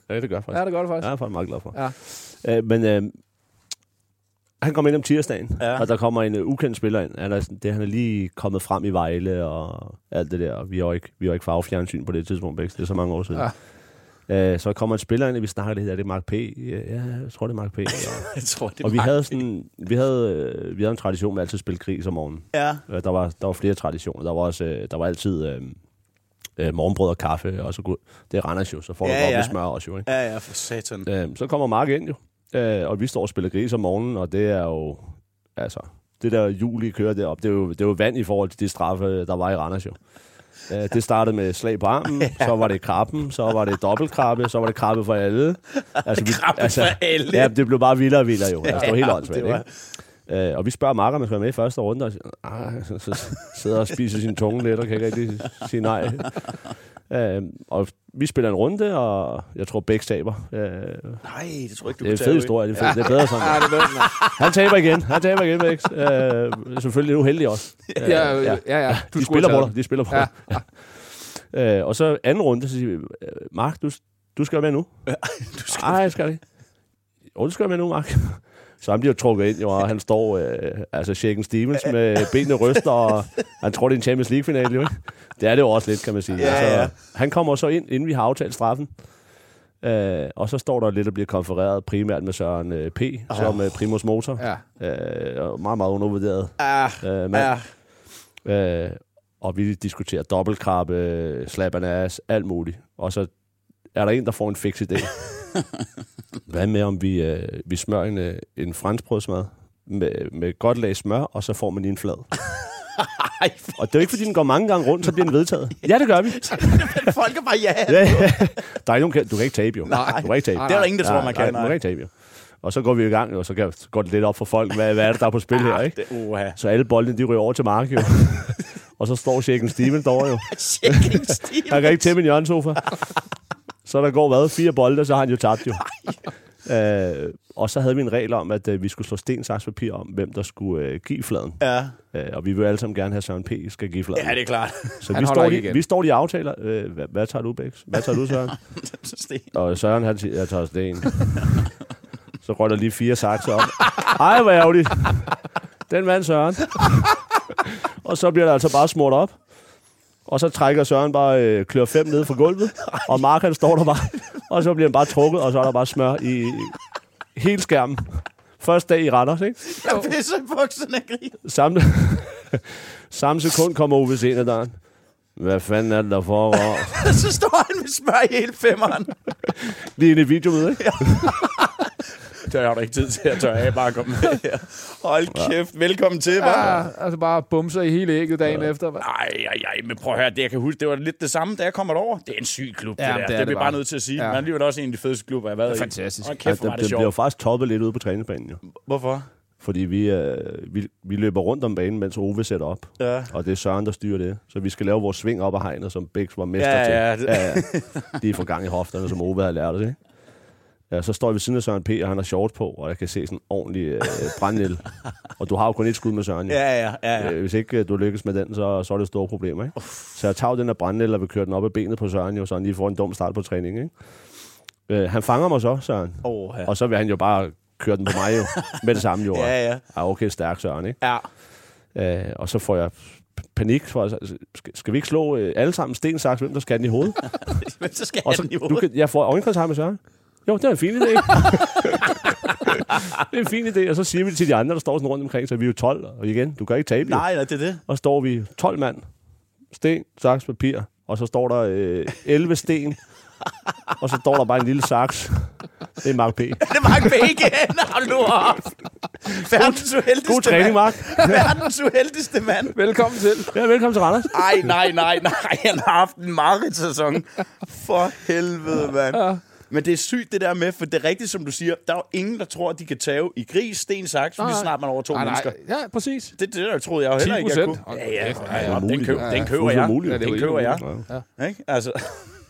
S2: ja, det gør jeg faktisk.
S1: Ja, det gør du
S2: Ja,
S1: faktisk.
S2: det er jeg faktisk meget glad for. Ja. Øh, men øh, han kom ind om tirsdagen,
S4: Ja.
S2: ja. og der kommer en øh, ukendt spiller ind. Han er, sådan- det, han er lige kommet frem i Vejle og alt det der. og Vi har jo ikke, vi har jo ikke farvefjernsyn på det tidspunkt, Bæks. Det er så mange år siden. Ja. Øh, så kommer en spiller ind, og vi snakker det her, er det Mark P? Ja, jeg tror, det er Mark P. Og,
S4: Jeg tror, det
S2: og vi
S4: var-
S2: havde, sådan, vi, havde, øh, vi havde en tradition med altid at spille krig om morgenen.
S4: Ja.
S2: Øh, Der var, der var flere traditioner. Der var, også, øh, der var altid øh, øh, morgenbrød og kaffe, og så god. Det er Randers jo, så får du
S4: Ja,
S2: godt
S4: ja.
S2: med smør også jo, ikke?
S4: Ja, ja, for satan.
S2: Øh, så kommer Mark ind jo, øh, og vi står og spiller gris om morgenen, og det er jo, altså, det der juli kører derop, det er jo, det er jo vand i forhold til de straffe, der var i Randers jo. Øh, det startede med slag på armen, så var det krabben, så var det dobbeltkrabbe, så var det krabbe for alle. Altså, vi,
S4: Krabbe for alle.
S2: Ja, det blev bare vildere og vildere jo. Altså, det var helt
S4: Ja,
S2: åndssvagt,
S4: det var-
S2: ikke? Øh, og vi spørger Mark, om han skal være med i første runde, og siger, "Ah," så, så sidder og spiser sin tunge lidt, og kan ikke rigtig sige nej. Øh, og vi spiller en runde, og jeg tror, begge taber. Øh,
S4: Nej, det tror jeg ikke, du
S2: det er en
S4: kunne
S2: fed
S4: tage,
S2: historie. Det er, fed, det er bedre sådan. ja, det han taber igen. Han taber igen, Vex. Øh, selvfølgelig uheldig også. Øh,
S1: Ja, ja, ja. ja. Du skulle
S2: De spiller
S1: have
S2: på
S1: taget
S2: dig. De spiller på
S1: Ja.
S2: dig. Ja. Øh, og så anden runde, så siger vi, øh, Mark, du, du skal være med nu. Nej, jeg skal ikke. Jo, du skal være med nu, Mark. Så han bliver trukket ind, jo, og han står, øh, altså Shaken Stevens med benene ryster, og han tror, det er en Champions League-finale, jo ikke? Det er det jo også lidt, kan man sige. Altså,
S4: Ja, ja.
S2: Han kommer så ind, inden vi har aftalt straffen, øh, og så står der lidt og bliver konfereret primært med Søren øh, P., oh. som øh, primus motor.
S1: Ja.
S2: Øh, og meget, meget undervurderet
S4: Ah,
S2: øh, mand.
S4: ja.
S2: Øh, og vi diskuterer dobbeltkrabbe, slap ass, alt muligt. Og så er der en, der får en fix idé. Hvad med, om vi, øh, vi smører en, øh, en franskbrødsmad med, med godt lag smør, og så får man lige en flad. og det er jo ikke, fordi den går mange gange rundt, så bliver den vedtaget. Ja, det gør vi.
S4: Folk er bare ja.
S2: Ja, ja. Der er ikke nogen, kan- du kan ikke tabe, jo.
S1: Nej.
S2: Du kan ikke tabe.
S1: Nej,
S4: Det er der ingen, der tror,
S2: Ja,
S4: man
S2: nej,
S4: kan.
S2: du kan
S4: Nej,
S2: ikke tabe, jo. Og så går vi i gang, og så kan- så går det lidt op for folk, hvad, hvad er det, der er på spil her, ikke?
S4: Det, uha.
S2: Så alle boldene, de ryger over til Mark, jo. og så står Shaken Stevens derovre, jo.
S4: Shaking Stevens.
S2: Han kan ikke tæmme en hjørnesofa. så der går hvad? Fire bolde, så har han jo tabt, jo. Øh, og så havde vi en regel om, at øh, vi skulle slå sten, saks, papir om, hvem der skulle øh, give fladen.
S4: Ja.
S2: Øh, og vi vil alle sammen gerne have Søren P. skal give fladen.
S4: ja, det er klart.
S2: så
S1: Han
S2: vi
S1: holder
S2: står,
S1: ikke
S2: lige,
S1: igen.
S2: vi står lige og aftaler. Øh, hvad, hvad tager du, Bæks? Hvad tager du, Søren?
S4: Sten.
S2: Og Søren, han siger, jeg tager sten. så røg der lige fire sakser op. Ej, hvor ærgerligt. Den mand, Søren. og så bliver der altså bare smurt op. Og så trækker Søren bare øh, klør fem ned fra gulvet. Og Mark, han står der bare. Og så bliver han bare trukket, og så er der bare smør i, i hele skærmen. Første dag i Randers, ikke?
S4: Jeg pisser i bukserne og griner.
S2: Samme, samme sekund kommer Ove ind ad døren. Hvad fanden er det, der foregår?
S4: Så står han med smør i hele femmeren.
S2: Lige inde i videomødet, ikke?
S4: Det har du ikke tid til at tørre af, bare komme med her. Hold kæft, velkommen til, hva'?
S1: Ja, altså bare bumser i hele ægget dagen efter. hva?
S4: Ej, ej, ej, men prøv at høre, det jeg kan huske, det var lidt det samme, da jeg kom over. Det er en syg klub, det
S1: Ja,
S4: der.
S1: det
S4: Det
S1: er
S4: er, det
S1: det
S4: bliver
S1: bare.
S4: bare nødt til at sige.
S1: Ja.
S4: Men alligevel er det også en af de fedeste klubber, jeg har været i.
S1: fantastisk.
S4: Hold kæft, hvor var
S2: den,
S4: det
S2: den blev
S4: sjovt.
S2: faktisk toppet lidt ude på træningsbanen, jo.
S4: Hvorfor?
S2: Fordi vi, øh, vi, vi løber rundt om banen, mens Ove sætter op.
S4: Ja.
S2: Og det er Søren, der styrer det. Så vi skal lave vores sving op ad hegnet, som Bæks var mester
S4: Ja,
S2: til.
S4: ja, det-
S2: ja. Lige fra gang i hofterne, som Ove havde lært os, ikke? Ja, så står jeg ved siden af Søren P., og han har shorts på, og jeg kan se sådan en ordentlig øh, brændel. og du har jo kun et skud med Søren, jo.
S4: Ja, ja, ja. ja.
S2: Øh, Hvis ikke øh, du lykkes med den, så, så er det store problemer, ikke? Så jeg tager jo den der brændel, og vil køre den op i benet på Søren, jo, så han lige får en dum start på træning, ikke? Øh, han fanger mig så, Søren.
S4: Åh, ja.
S2: Og så vil han jo bare køre den på mig jo, med det samme jo.
S4: Ja, ja.
S2: Ah, okay, stærk Søren, ikke?
S4: Ja.
S2: Øh, og så får jeg p- panik for, at- skal, skal vi ikke slå øh, alle sammen sten, saks, hvem der skal den i hovedet?
S4: Men så skal
S2: Og
S4: han i
S2: så, du
S4: hovedet.
S2: kan, jeg får øjenkontakt med Søren. Jo, det er en fin idé. det er en fin idé, og så siger vi det til de andre, der står sådan rundt omkring, så vi er jo 12, og igen, du kan ikke tabe jo.
S4: Nej, nej, det er det.
S2: Og står vi 12 mand, sten, saks, papir, og så står der øh, 11 sten, og så står der bare en lille saks. Det er Mark P.
S4: Det var ikke begge. Hold nu op. Verdens uheldigste
S2: God træning,
S4: mand.
S2: Mark.
S4: Verdens uheldigste mand.
S1: Velkommen til.
S2: Ja, velkommen til Randers.
S4: Ej, nej, nej, nej. Han har haft en mareridt-sæson. For helvede, mand. Men det er sygt, det der med, for det er rigtigt, som du siger. Der er jo ingen, der tror, at de kan tage i gris, sten, saks, lige
S1: nej.
S4: snart man over to
S1: Ah, Nej,
S4: mennesker.
S1: nej. Ja, præcis.
S4: Det, det der troede jeg jo heller ikke, jeg
S1: 10%.
S4: kunne.
S1: Hold
S4: Ja, ja,
S1: kæft,
S4: ja, ja. Den,
S2: umuligt,
S4: køb,
S2: jo.
S4: den køber jeg.
S2: Umuligt.
S1: Ja, det er jo
S4: Den
S1: helt
S4: køber jeg.
S2: umuligt. Ja.
S4: Ikke? Altså,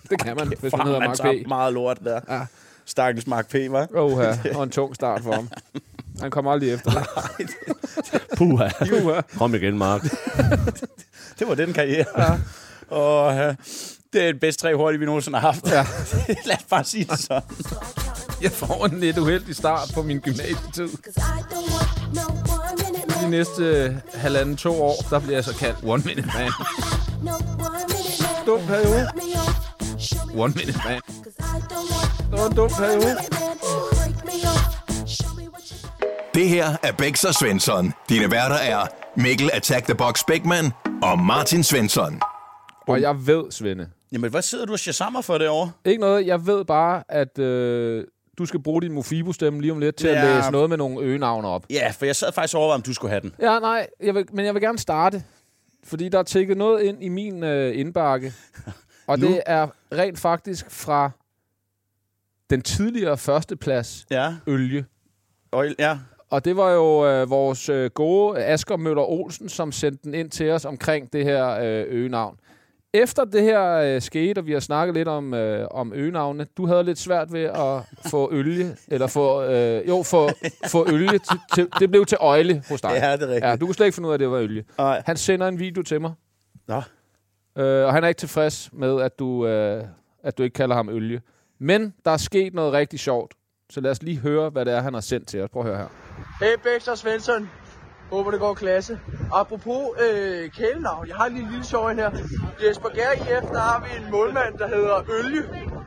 S1: Det kan man, hvis man hedder
S4: man
S1: Mark
S4: tager
S1: B.
S4: meget lort der.
S1: Ja.
S4: Stakkels Mark P, var.
S1: Oha, og en tung start for ham. Han kommer aldrig efter.
S2: Puha.
S1: Uha.
S2: Kom igen, Mark.
S4: Det var den karriere. Ja. Og øh, det er den bedste tre hurtige, vi nogensinde har haft. Ja. Lad os bare sige det sådan.
S1: Jeg får en lidt uheldig start på min gymnasietid. De næste øh, halvanden to år, der bliver jeg så kaldt One Minute Man. Dum periode. One Minute Man. Det var en dum periode.
S3: Det her er Bæks og Svensson. Dine værter er Mikkel Attack the Box Bækman og Martin Svensson.
S1: Og jeg ved, Svende.
S4: Jamen, hvad sidder du og shazamer for det over?
S1: Ikke noget, jeg ved bare, at øh, du skal bruge din Mofibo-stemme lige om lidt til ja. at
S4: Ja.
S1: læse noget med nogle øgenavne op.
S4: Ja, for jeg sad faktisk over, om du skulle have den.
S1: Ja, nej, jeg vil, men jeg vil gerne starte, fordi der er tækket noget ind i min øh, indbakke. Og
S4: Nu?
S1: det er rent faktisk fra den tidligere førsteplads,
S4: Ja.
S1: Ølje.
S4: Oil, ja.
S1: Og det var jo øh, vores øh, gode Asger Møller Olsen, som sendte den ind til os omkring det her øh, øgenavn. Efter det her øh, skete, og vi har snakket lidt om, øh, om øgenavne, du havde lidt svært ved at få ølje, eller få, øh, jo, få, få ølje, til, til, det blev til øjle hos dig.
S4: Ja, det er rigtigt.
S1: Ja, du kunne slet ikke finde ud af, at det var ølje.
S4: Nej.
S1: Han sender en video til mig,
S4: Nå.
S1: øh, og han er ikke tilfreds med, at du, øh, at du ikke kalder ham ølje. Men der er sket noget rigtig sjovt, så lad os lige høre, hvad det er, han har sendt til os. Prøv at høre her.
S10: Hey Bex og Svensson. Håber det går klasse. Apropos øh, kælenavn, jeg har lige en lille sjov en her. I Esbjerg IF, der har vi en målmand, der hedder Ølje.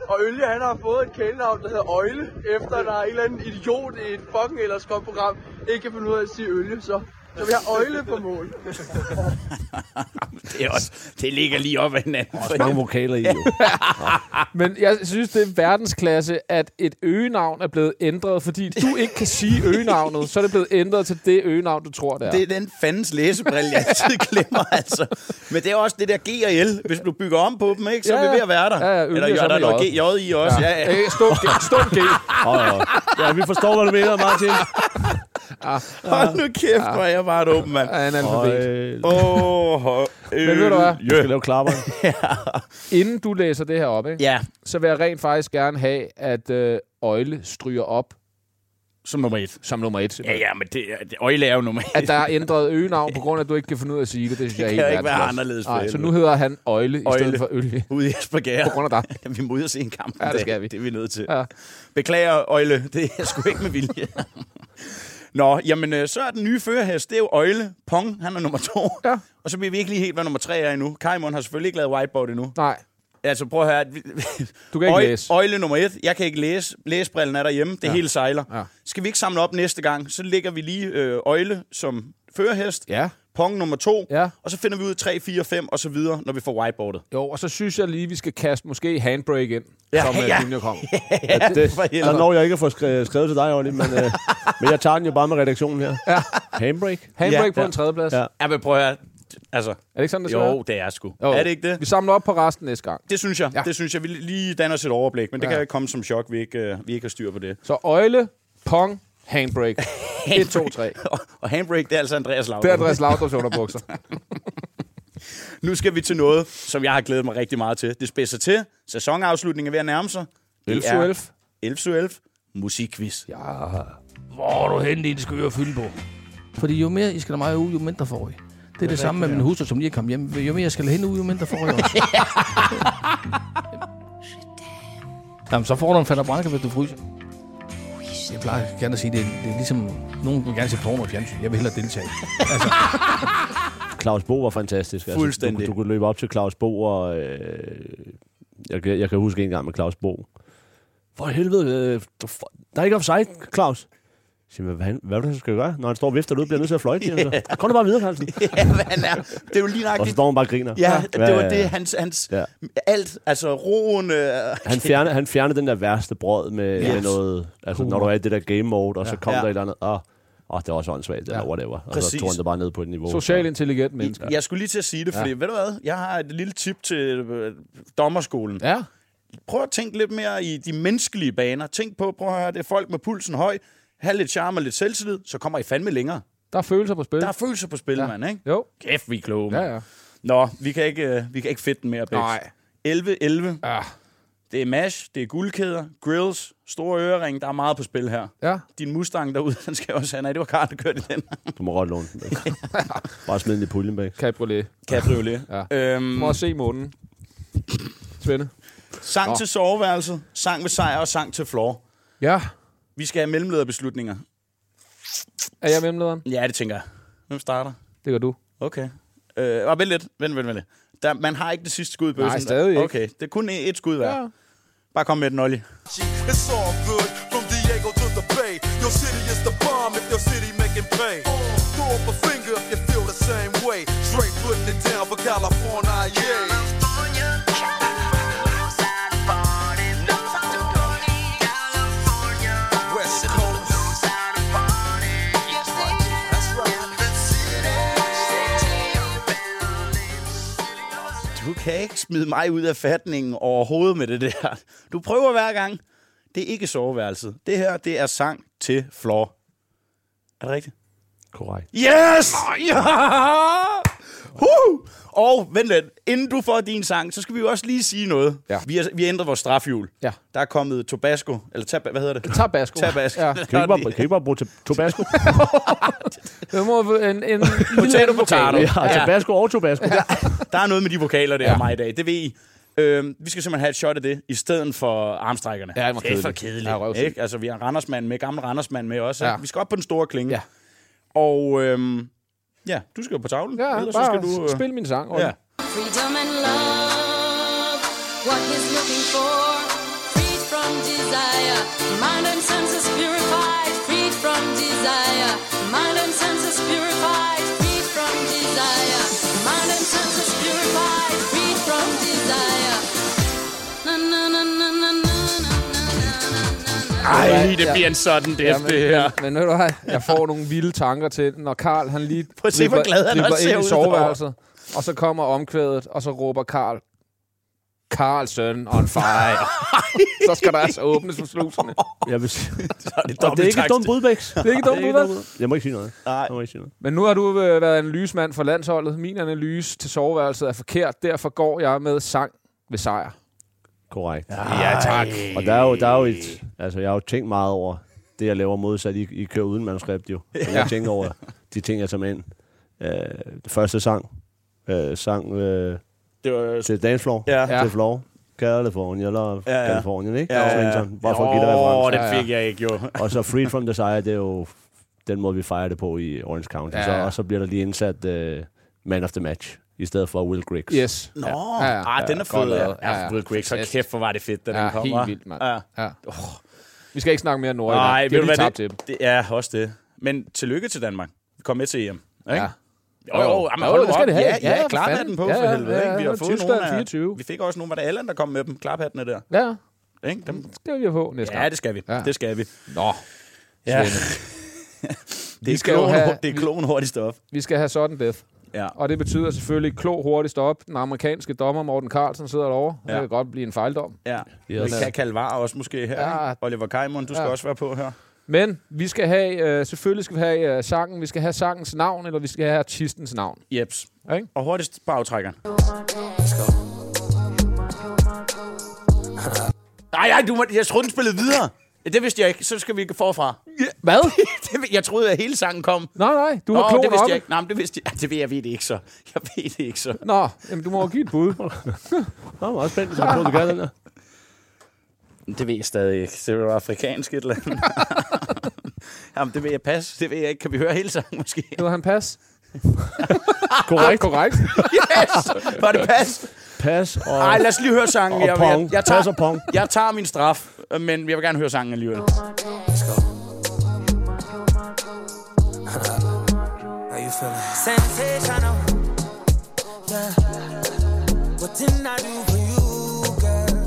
S10: Og Ølje, han har fået et kælenavn, der hedder Øjle, efter der er en eller anden idiot i et fucking ellers godt program, ikke kan finde ud af at sige Ølje, så. Så vi har Øjle på mål.
S4: Det, er også, det ligger lige op ad hinanden.
S2: Mange vokaler i, jo.
S1: Men jeg synes, det er verdensklasse, at et øgenavn er blevet ændret, fordi du ikke kan sige øgenavnet, så er det blevet ændret til det øgenavn, du tror, det er.
S4: Det er den fandens læsebrille, jeg altid glemmer, altså. Men det er også det der G og L. Hvis du bygger om på dem, ikke, så
S1: Ja,
S4: ja, er
S1: ja.
S4: vi ved at være der.
S1: Ja, ja,
S4: Eller
S1: yndig,
S4: J,
S1: så er
S4: der
S1: vi
S4: er G,
S1: øjet.
S4: J, I også. Ja, ja.
S1: Øh, Stum G. Stum G.
S2: Åh, ja. ja, vi forstår, hvad du mener, Martin.
S4: Hold nu kæft, hvor er jeg bare et åben, mand.
S1: Er
S2: Og,
S1: analfabet.
S2: øh,
S4: Åh, oh, øh,
S1: Men ved du hvad?
S2: vi skal lave klapperne.
S1: Inden du læser det her op, ikke,
S4: Ja,
S1: så vil jeg rent faktisk gerne have, at øh, Øjle stryger op
S4: som nummer et.
S1: som nummer et.
S4: Ja, ja, men det, er- det øjle er jo nummer et.
S1: At der er ændret øgenavn, på grund af, at du ikke kan finde ud af at sige det. Det synes jeg er
S4: kan
S1: helt
S4: jo ikke være
S1: verdensklasse.
S4: anderledes for
S1: Nej, så
S4: helvede.
S1: nu hedder han Øjle, i
S4: Øjle.
S1: stedet for Ølje.
S4: Ude i Esbjerg.
S1: På grund af dig.
S4: Vi må ud og se en kamp.
S1: Ja,
S4: en
S1: det
S4: dag.
S1: skal vi.
S4: Det er vi nødt til.
S1: Ja.
S4: Ja. Beklager, Øjle. Det er jeg sgu ikke med vilje. Nå, jamen, øh, så er den nye førerhest, det er jo Øjle. Pong, han er nummer to.
S1: Ja.
S4: Og så ved vi ikke lige helt, hvad nummer tre er endnu. Kajmon har selvfølgelig ikke lavet whiteboard endnu.
S1: Nej,
S4: Altså, prøv at høre. at vi-
S1: du kan ikke
S4: Øj-
S1: læse.
S4: Øjle nummer et. Jeg kan ikke læse. Læsbrillen er derhjemme. Det ja. hele sejler.
S1: Ja.
S4: Ja. Skal vi ikke samle op næste gang? Så lægger vi lige øh, Øjle som førerhest.
S1: Ja.
S4: Pong nummer to.
S1: Ja.
S4: Og så finder vi ud 3, 4, 5 og så videre, når vi får whiteboardet.
S1: Jo, og så synes jeg lige, vi skal kaste måske handbrake ind, ja,
S4: Ja,
S1: som ja.
S4: ja.
S1: Junior kom.
S2: Ja, det,
S4: for helvede.
S2: der når jeg ikke at få skrevet, skrevet til dig, Olli, men, øh, men jeg tager den jo bare med redaktionen her. Ja. Handbrake.
S1: Handbrake ja,
S4: Ja.
S1: på ja. en tredjeplads. Ja.
S2: Ja.
S4: Ja, men prøv at høre. Altså,
S1: Er det ikke sådan, det skal
S4: jo,
S1: være?
S4: det er sgu.
S1: Jo.
S4: Er det ikke
S1: Vi
S4: det?
S1: samler op på resten næste gang.
S4: Det synes jeg.
S1: Ja.
S4: Ja. Det synes jeg. Vi lige danner os et overblik, men det
S1: Ja.
S4: ja. kan jo ikke komme som chok, vi ikke, øh, vi ikke har styr på det.
S1: Så øjle, pong, handbrake. 1, 2, 3.
S4: Og, og handbrake, det er altså Andreas Laudrup.
S1: Det er Andreas Laudrup's underbukser.
S4: Nu skal vi til noget, som jeg har glædet mig rigtig meget til. Det spidser til. Sæsonafslutningen er ved at nærme sig.
S1: 11
S4: Det
S1: 11.
S4: er
S1: 11.
S4: 11 Musikquiz. Ja.
S10: Hvor du henne dine skøre fylde på? Fordi jo mere I skal der mig ud, jo mindre får I. Det er det samme med min hustru, som lige er kommet hjem. Jo mere jeg skal hende ud, jo mindre får jeg også. Jamen, så får du en fatter branke, hvis du fryser. Jeg plejer gerne at sige, det er, det er ligesom... Nogen vil gerne se porno i fjernsyn. Jeg vil hellere deltage.
S2: Claus Bo var fantastisk.
S4: Fuldstændig.
S2: Altså, du, du kunne løbe op til Claus Bo, og øh, jeg, kan- jeg kan huske en gang med Claus Bo. For helvede, øh, du- for- der er ikke offside, Claus. Jeg siger, hvad, hvad, hvad er det, han skal gøre? Når han står og vifter ud, bliver jeg nødt til at fløjte. Yeah. Altså. Kom du bare videre, Carlsen.
S4: hvad han er. Det er jo lige
S2: Og så
S4: nøjagtigt.
S2: står han bare og griner.
S4: Ja, det var
S2: ja,
S4: det.
S2: ja.
S4: Hans, hans
S2: Ja.
S4: ja. alt, altså roen. Øh,
S2: Han fjernede, han fjernede den der værste brød med, yes. med noget... Altså, når du er i det der game mode, og så kom
S4: Ja.
S2: der et eller andet... Og, åh, oh, det er også åndssvagt, eller
S1: Ja.
S2: whatever. Og så
S4: Præcis.
S2: tog han det bare ned på et niveau.
S1: Socialt intelligent mennesker.
S4: I, jeg skulle lige til at sige det, fordi
S1: Ja.
S4: ja. ved du hvad? Jeg har et lille tip til øh, dommerskolen.
S1: Ja.
S4: Prøv at tænke lidt mere i de menneskelige baner. Tænk på, prøv at høre, det er folk med pulsen høj. Have lidt charme og lidt selvtillid, så kommer I fandme længere.
S1: Der er følelser på spil.
S4: Der er Mm. følelser på spil,
S1: Ja.
S4: ja. mand, ikke?
S1: Jo.
S4: Kæft, vi er kloge, mand.
S1: Ja, ja.
S4: Nå, vi kan ikke, øh, vi kan ikke fedte den mere, Bex.
S1: Nej. Ah,
S4: 11-11.
S1: Ja.
S4: Det er mash, det er guldkæder, grills, store ørering. Der er meget på spil her.
S1: Ja.
S4: Din Mustang derude, den skal jeg også have. Nej, det var Karl, der kørte i den.
S2: Du må godt låne den. bare smid den i puljen bag.
S1: Cabriolet.
S4: Cabriolet.
S1: Ja.
S4: Øhm,
S1: Prøv at se månen. Svende.
S4: sang
S1: Nå.
S4: til soveværelset, sang ved sejr og sang til floor.
S1: Ja.
S4: Vi skal have mellemlederbeslutninger.
S1: Er jeg mellemlederen?
S4: Ja, det tænker jeg. Hvem starter?
S1: Det gør du.
S4: Okay. Øh, og vent lidt. Vent, vent, vent lidt. Der, man har ikke det sidste skud i bøssen.
S1: Nej, stadig ikke.
S4: Okay, det er kun e- et et skud hver.
S1: Ja.
S4: Ja. Bare kom med den, Olli.
S8: It's all good from Diego to the Bay. Your city is the bomb if your city making pay. Throw up a finger if you feel the same way. Straight putting it down for California, yeah. West Coast. That's right.
S4: Du kan ikke smide mig ud af fatningen overhovedet med det der. Du prøver hver gang. Det er ikke soveværelset. Det her, det er sang til floor. Er det rigtigt?
S2: Korrekt.
S4: Yes! Ja! Huh! Og vent lidt, inden du får din sang, så skal vi jo også lige sige noget.
S1: Ja.
S4: Vi, har, vi har ændret vores strafhjul.
S1: Ja.
S4: Der er kommet Tobasco, eller tab, hvad hedder det?
S1: Tabasco.
S4: Tabasco.
S1: Ja.
S2: Kan I ikke bare, kan I ikke bare bruge to- Tabasco?
S1: Det må være en, en
S4: Potato, potato.
S2: Ja, Tabasco og Tabasco.
S4: Der er noget med de vokaler der ja. mig i dag, det ved I. Øhm, vi skal simpelthen have et shot af det, i stedet for armstrækkerne.
S1: Ja, det var
S4: det er for
S1: kedeligt. Ja,
S4: kedeligt.
S1: røvsygt.
S4: ikke? Altså, vi har Randersmand med, gamle Randersmand med også.
S1: Ja.
S4: Ja. Vi skal op på den store klinge.
S1: Ja.
S4: Og øhm, ja, du skal jo på tavlen.
S1: Ja,
S4: Ellers
S1: bare
S4: så skal du... øh,
S1: spil min sang.
S4: Ja.
S1: Ja.
S11: Freedom and love, what he's looking for. Freed from desire, mind and senses purified. Freed from desire, mind and senses purified. Freed from desire, mind and senses purified. Freed from desire. Na, na, na, na, na, na, na,
S4: Ej,
S11: na, na.
S4: det
S1: Ja.
S4: bliver en sådan def,
S1: Ja, men,
S4: det her.
S1: men, men ved du hvad, jeg får nogle vilde tanker til, når Karl han lige
S4: Prøv at se, hvor glad han
S1: dribler
S4: også ser
S1: ind i
S4: ud
S1: soveværelset, og så kommer omkvædet, og så råber Karl, Karlsson on fire. så skal der altså åbnes for slusene.
S2: Jeg vil sige.
S4: Så er det
S2: Og det er ikke et dumt brudbæks.
S1: Det er ikke dumt, Buddha.
S2: Jeg må ikke sige noget.
S4: Nej.
S2: Jeg må ikke sige noget.
S1: Men nu har du øh, været en lysmand for landsholdet. Min analyse til soveværelset er forkert. Derfor går jeg med sang ved sejr.
S2: Korrekt.
S4: Ja, tak.
S2: Og der er jo, der er jo et, altså, jeg har jo tænkt meget over det, jeg laver modsat. I, I kører uden manuskript jo. Men Jeg tænker over de ting, jeg tager med ind. Øh, det første sang. Øh, sang øh,
S4: Det var...
S2: til Dancefloor.
S4: Ja.
S2: Til Floor. California, eller
S4: Ja, ja.
S2: California, ikke?
S4: Ja, ja, ja.
S2: Svensson. Bare for at give dig
S4: Åh,
S2: reference.
S4: det fik jeg ikke, jo.
S2: Og så Free From Desire, det er jo den måde, vi fejrer det på i Orange County.
S1: Ja,
S2: Så,
S1: ja.
S2: og så bliver der lige indsat øh, Man of the Match, i stedet for Will Griggs.
S1: Yes.
S4: Nå,
S1: Ja, ja.
S4: Ah, den er fed.
S1: lavet.
S4: Ja,
S1: Ja, ja.
S4: ja. Will Griggs, så kæft, hvor var det fedt, da
S1: Ja,
S4: den kom.
S1: helt
S4: hva'?
S1: vildt, mand.
S4: Ja.
S1: Ja. Oh. Vi skal ikke snakke mere Norge.
S4: Nej,
S1: Nej,
S4: ved
S1: det er
S4: du
S1: lige
S4: hvad
S1: tabt
S4: det,
S1: til dem.
S4: det er også det. Men tillykke til Danmark. Vi kom med til EM. Ikke?
S1: Ja.
S4: Ja. Jo, jo, jo, jamen, jo, jo,
S1: det skal det have.
S4: Ja,
S1: Ja,
S4: ja,
S1: for
S4: ja klaphatten
S1: fanden.
S4: på,
S1: Ja,
S4: for
S1: ja,
S4: helvede.
S1: ja,
S4: ikke? Vi
S1: ja,
S4: har fået
S1: Tyskland
S4: nogle af,
S1: 24.
S4: Vi fik også nogle, var det Allan, der kom med dem, klaphattene der.
S1: Ja,
S4: Ikke? Dem,
S1: det vil jeg på næste
S4: ja,
S1: gang.
S4: det skal vi.
S1: Ja.
S4: Ja. Det skal vi.
S1: Nå,
S4: Ja. det,
S1: Vi
S4: er
S1: skal jo
S4: klogen,
S1: have-
S4: have... det er klogen hurtigst op.
S1: vi skal have sådan death.
S4: Ja.
S1: Og det betyder selvfølgelig klog hurtigst op. Den amerikanske dommer Morten Carlsen sidder derovre. Ja.
S4: Ja.
S1: Det kan godt blive en fejldom.
S4: ja.
S2: Yes.
S4: Vi kan kalde var også måske her.
S1: Ja.
S4: Ja. Oliver Kajmund, du skal
S1: Ja.
S4: også være på her.
S1: Men vi skal have, øh, selvfølgelig skal vi have øh, sangen. Vi skal have sangens navn, eller vi skal have artistens navn.
S4: Jeps.
S1: Ikke?
S4: Og hurtigst bagtrækkeren. Nej, nej, du må, jeg troede, den spillede videre. Ja, Det vidste jeg ikke. Så skal vi ikke forfra.
S1: Hvad?
S4: Det ved- jeg troede, at hele sangen kom.
S1: Nej, nej, du har
S4: Nå, det
S1: klogen
S4: vidste
S1: op.
S4: jeg ikke. Nej, men det vidste jeg. Ja, Det ved jeg, ved det ikke så. Jeg ved det ikke så.
S1: Nå, jamen, du må jo give et bud.
S2: Nå, meget spændt, så jeg prøver, du gør den der.
S4: Det ved jeg stadig ikke. Det var afrikansk et eller andet. Jamen, det ved jeg pas. Det ved jeg ikke. Kan vi høre hele sangen måske?
S1: Hedder han pas?
S2: Korrekt.
S1: Korrekt.
S4: Yes! Var det pas?
S2: Pas og,
S4: Nej, lad os lige høre sangen.
S2: og pong.
S4: jeg,
S2: Pas
S4: tager,
S2: og pong.
S4: jeg tager min straf, men jeg vil gerne høre sangen alligevel.
S8: How you feeling?
S12: Sensational. Yeah. What did I do for you, girl?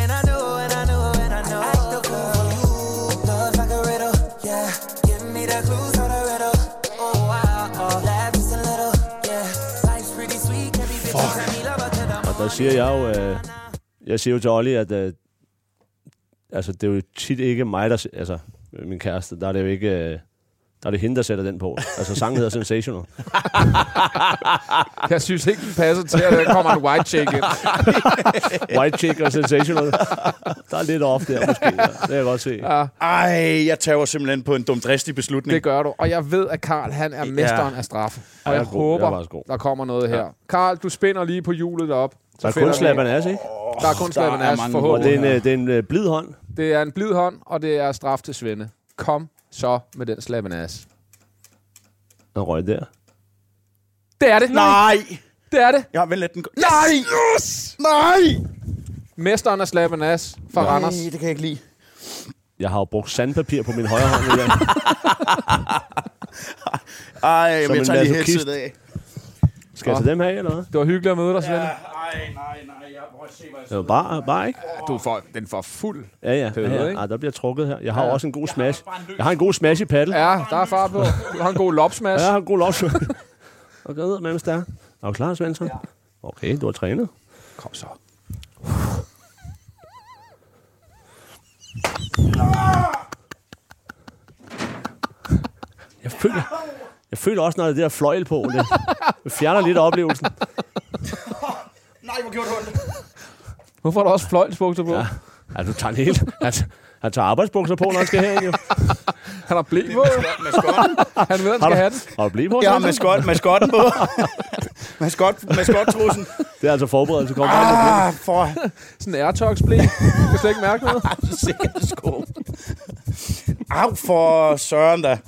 S12: And I know, and I know, and I know. I still feel for you. Love like a riddle. Yeah. Give me the the clues or the riddle. Oh, wow, oh, life is a little, yeah. Life's pretty sweet, every bitch is a me lover to the
S2: Og der siger jeg jo, øh, jeg siger jo til Olli, at øh, altså, det er jo tit ikke mig, der... s- Altså, øh, min kæreste, der er det jo ikke... Øh, der er det hende, der sætter den på. Altså, sangen hedder Sensational.
S1: Jeg synes ikke, den passer til, at der kommer en white chick ind.
S2: White chick og Sensational. Der er lidt off der, måske. Ja. Det kan jeg godt se.
S1: Ja.
S4: Ej, jeg tager simpelthen på en dumdristig beslutning.
S1: Det gør du. Og jeg ved, at Karl han er mesteren af straffe. Og
S4: Ja,
S1: jeg
S4: jeg er god. Jeg er
S1: håber,
S4: faktisk god.
S1: der kommer noget
S4: Ja.
S1: her. Karl, du spinder lige på hjulet derop.
S2: Der er
S1: finder
S2: kun
S1: vi-
S2: Slap Anas, ikke?
S1: Der er kun Slaven Ass,
S2: Og det er en,
S1: forhåbentlig.
S2: øh, det er en øh, blid hånd.
S1: Det er en blid hånd, og det er straf til Svende. Kom så med den Slaven Ass.
S2: Den røg der.
S1: Det er det.
S4: Nej!
S1: Det er det.
S4: Ja, vel let den gå.
S1: Nej!
S4: Yes! Nej!
S1: Mesteren af Slaven Ass fra
S4: Nej,
S1: Randers.
S4: det kan jeg ikke lide.
S2: Jeg har jo brugt sandpapir på min højre hånd i dag.
S4: Ej,
S2: Som
S4: men
S2: en
S4: jeg tager lige
S2: masochist.
S4: hetset af.
S2: Skal jeg tage dem her, eller hvad?
S1: Det var hyggeligt at møde dig, Svende.
S4: Ej, nej, nej. Jeg prøver at se, hvad
S2: Det var bare, bare ikke?
S1: Du får den for fuld.
S2: Ja, ja.
S1: Pøde,
S2: ja,
S1: ikke?
S2: ja. Ej, der bliver trukket her. Jeg har
S1: Ja.
S2: ja. også en god smash. Jeg har en god smash i paddel. Ja,
S1: Ja, der er far på. Du har en god lopsmash.
S2: jeg har en god lovsmash. Og gør ud med, hvis der er. Er du klar, Svensson? Ja. Okay, du har trænet.
S1: Kom så.
S2: Jeg føler, jeg føler også, når det der fløjl på, det, det fjerner lidt oplevelsen.
S4: Nej, hvor gjorde du ondt.
S1: Nu får du også fløjlsbukser på.
S2: Ja. Ja, du tager en hel... Han, han tager arbejdsbukser på, når han skal herind, jo.
S1: Han har blæ på. Han ved, han
S2: Har
S1: skal
S2: du,
S1: have den.
S2: har du blivet på,
S4: Jeg har
S2: Svensson?
S4: maskot, maskotten på. maskot, maskottrussen.
S2: Det er altså forberedelse. Kom, ah.
S4: Ah, for
S1: Sådan en airtox blæ. Du kan slet ikke mærke noget.
S4: sikkert sko. Au, for søren da.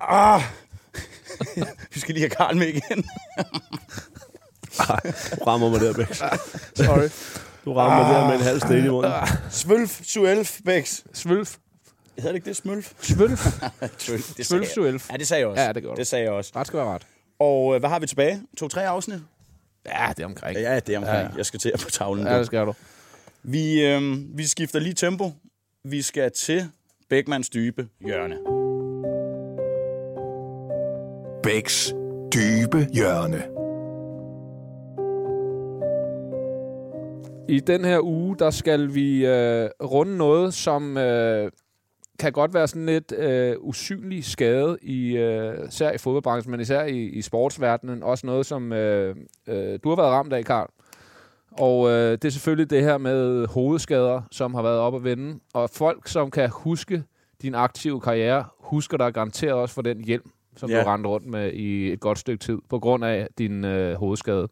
S4: Ah. Vi skal lige have Karl med igen.
S2: Du rammer mig der, Bæks.
S1: Sorry.
S2: Du rammer mig der med en halv sted i munden.
S4: Svølf, suelf, bæks.
S1: Svølf.
S4: Hedder det ikke det, smølf?
S1: Svølf.
S4: Svølf, det
S1: Svølf, svølf.
S4: Ja, det sagde jeg også.
S1: Ja, det gjorde du.
S4: Det sagde jeg også.
S1: Ret skal være ret.
S4: Og øh, hvad har vi tilbage? To-tre afsnit?
S1: Ja, det er omkring.
S4: Ja, det er omkring.
S1: Ja.
S4: Ja. Jeg skal til at på tavlen.
S1: Ja,
S4: Ja,
S1: det skal du.
S4: vi, øh, vi skifter lige tempo. Vi skal til Bækmans dybe hjørne.
S3: Bæks dybe hjørne.
S1: I den her uge, der skal vi øh, runde noget, som øh, kan godt være sådan lidt øh, usynlig skade, i, øh, især i fodboldbranchen, men især i, i sportsverdenen. Også noget, som øh, øh, du har været ramt af, Karl. Og øh, det er selvfølgelig det her med hovedskader, som har været op at vende. Og folk, som kan huske din aktive karriere, husker dig garanteret også for den hjelm, som
S4: Ja.
S1: du rendte rundt med i et godt stykke tid, på grund af din øh, hovedskade.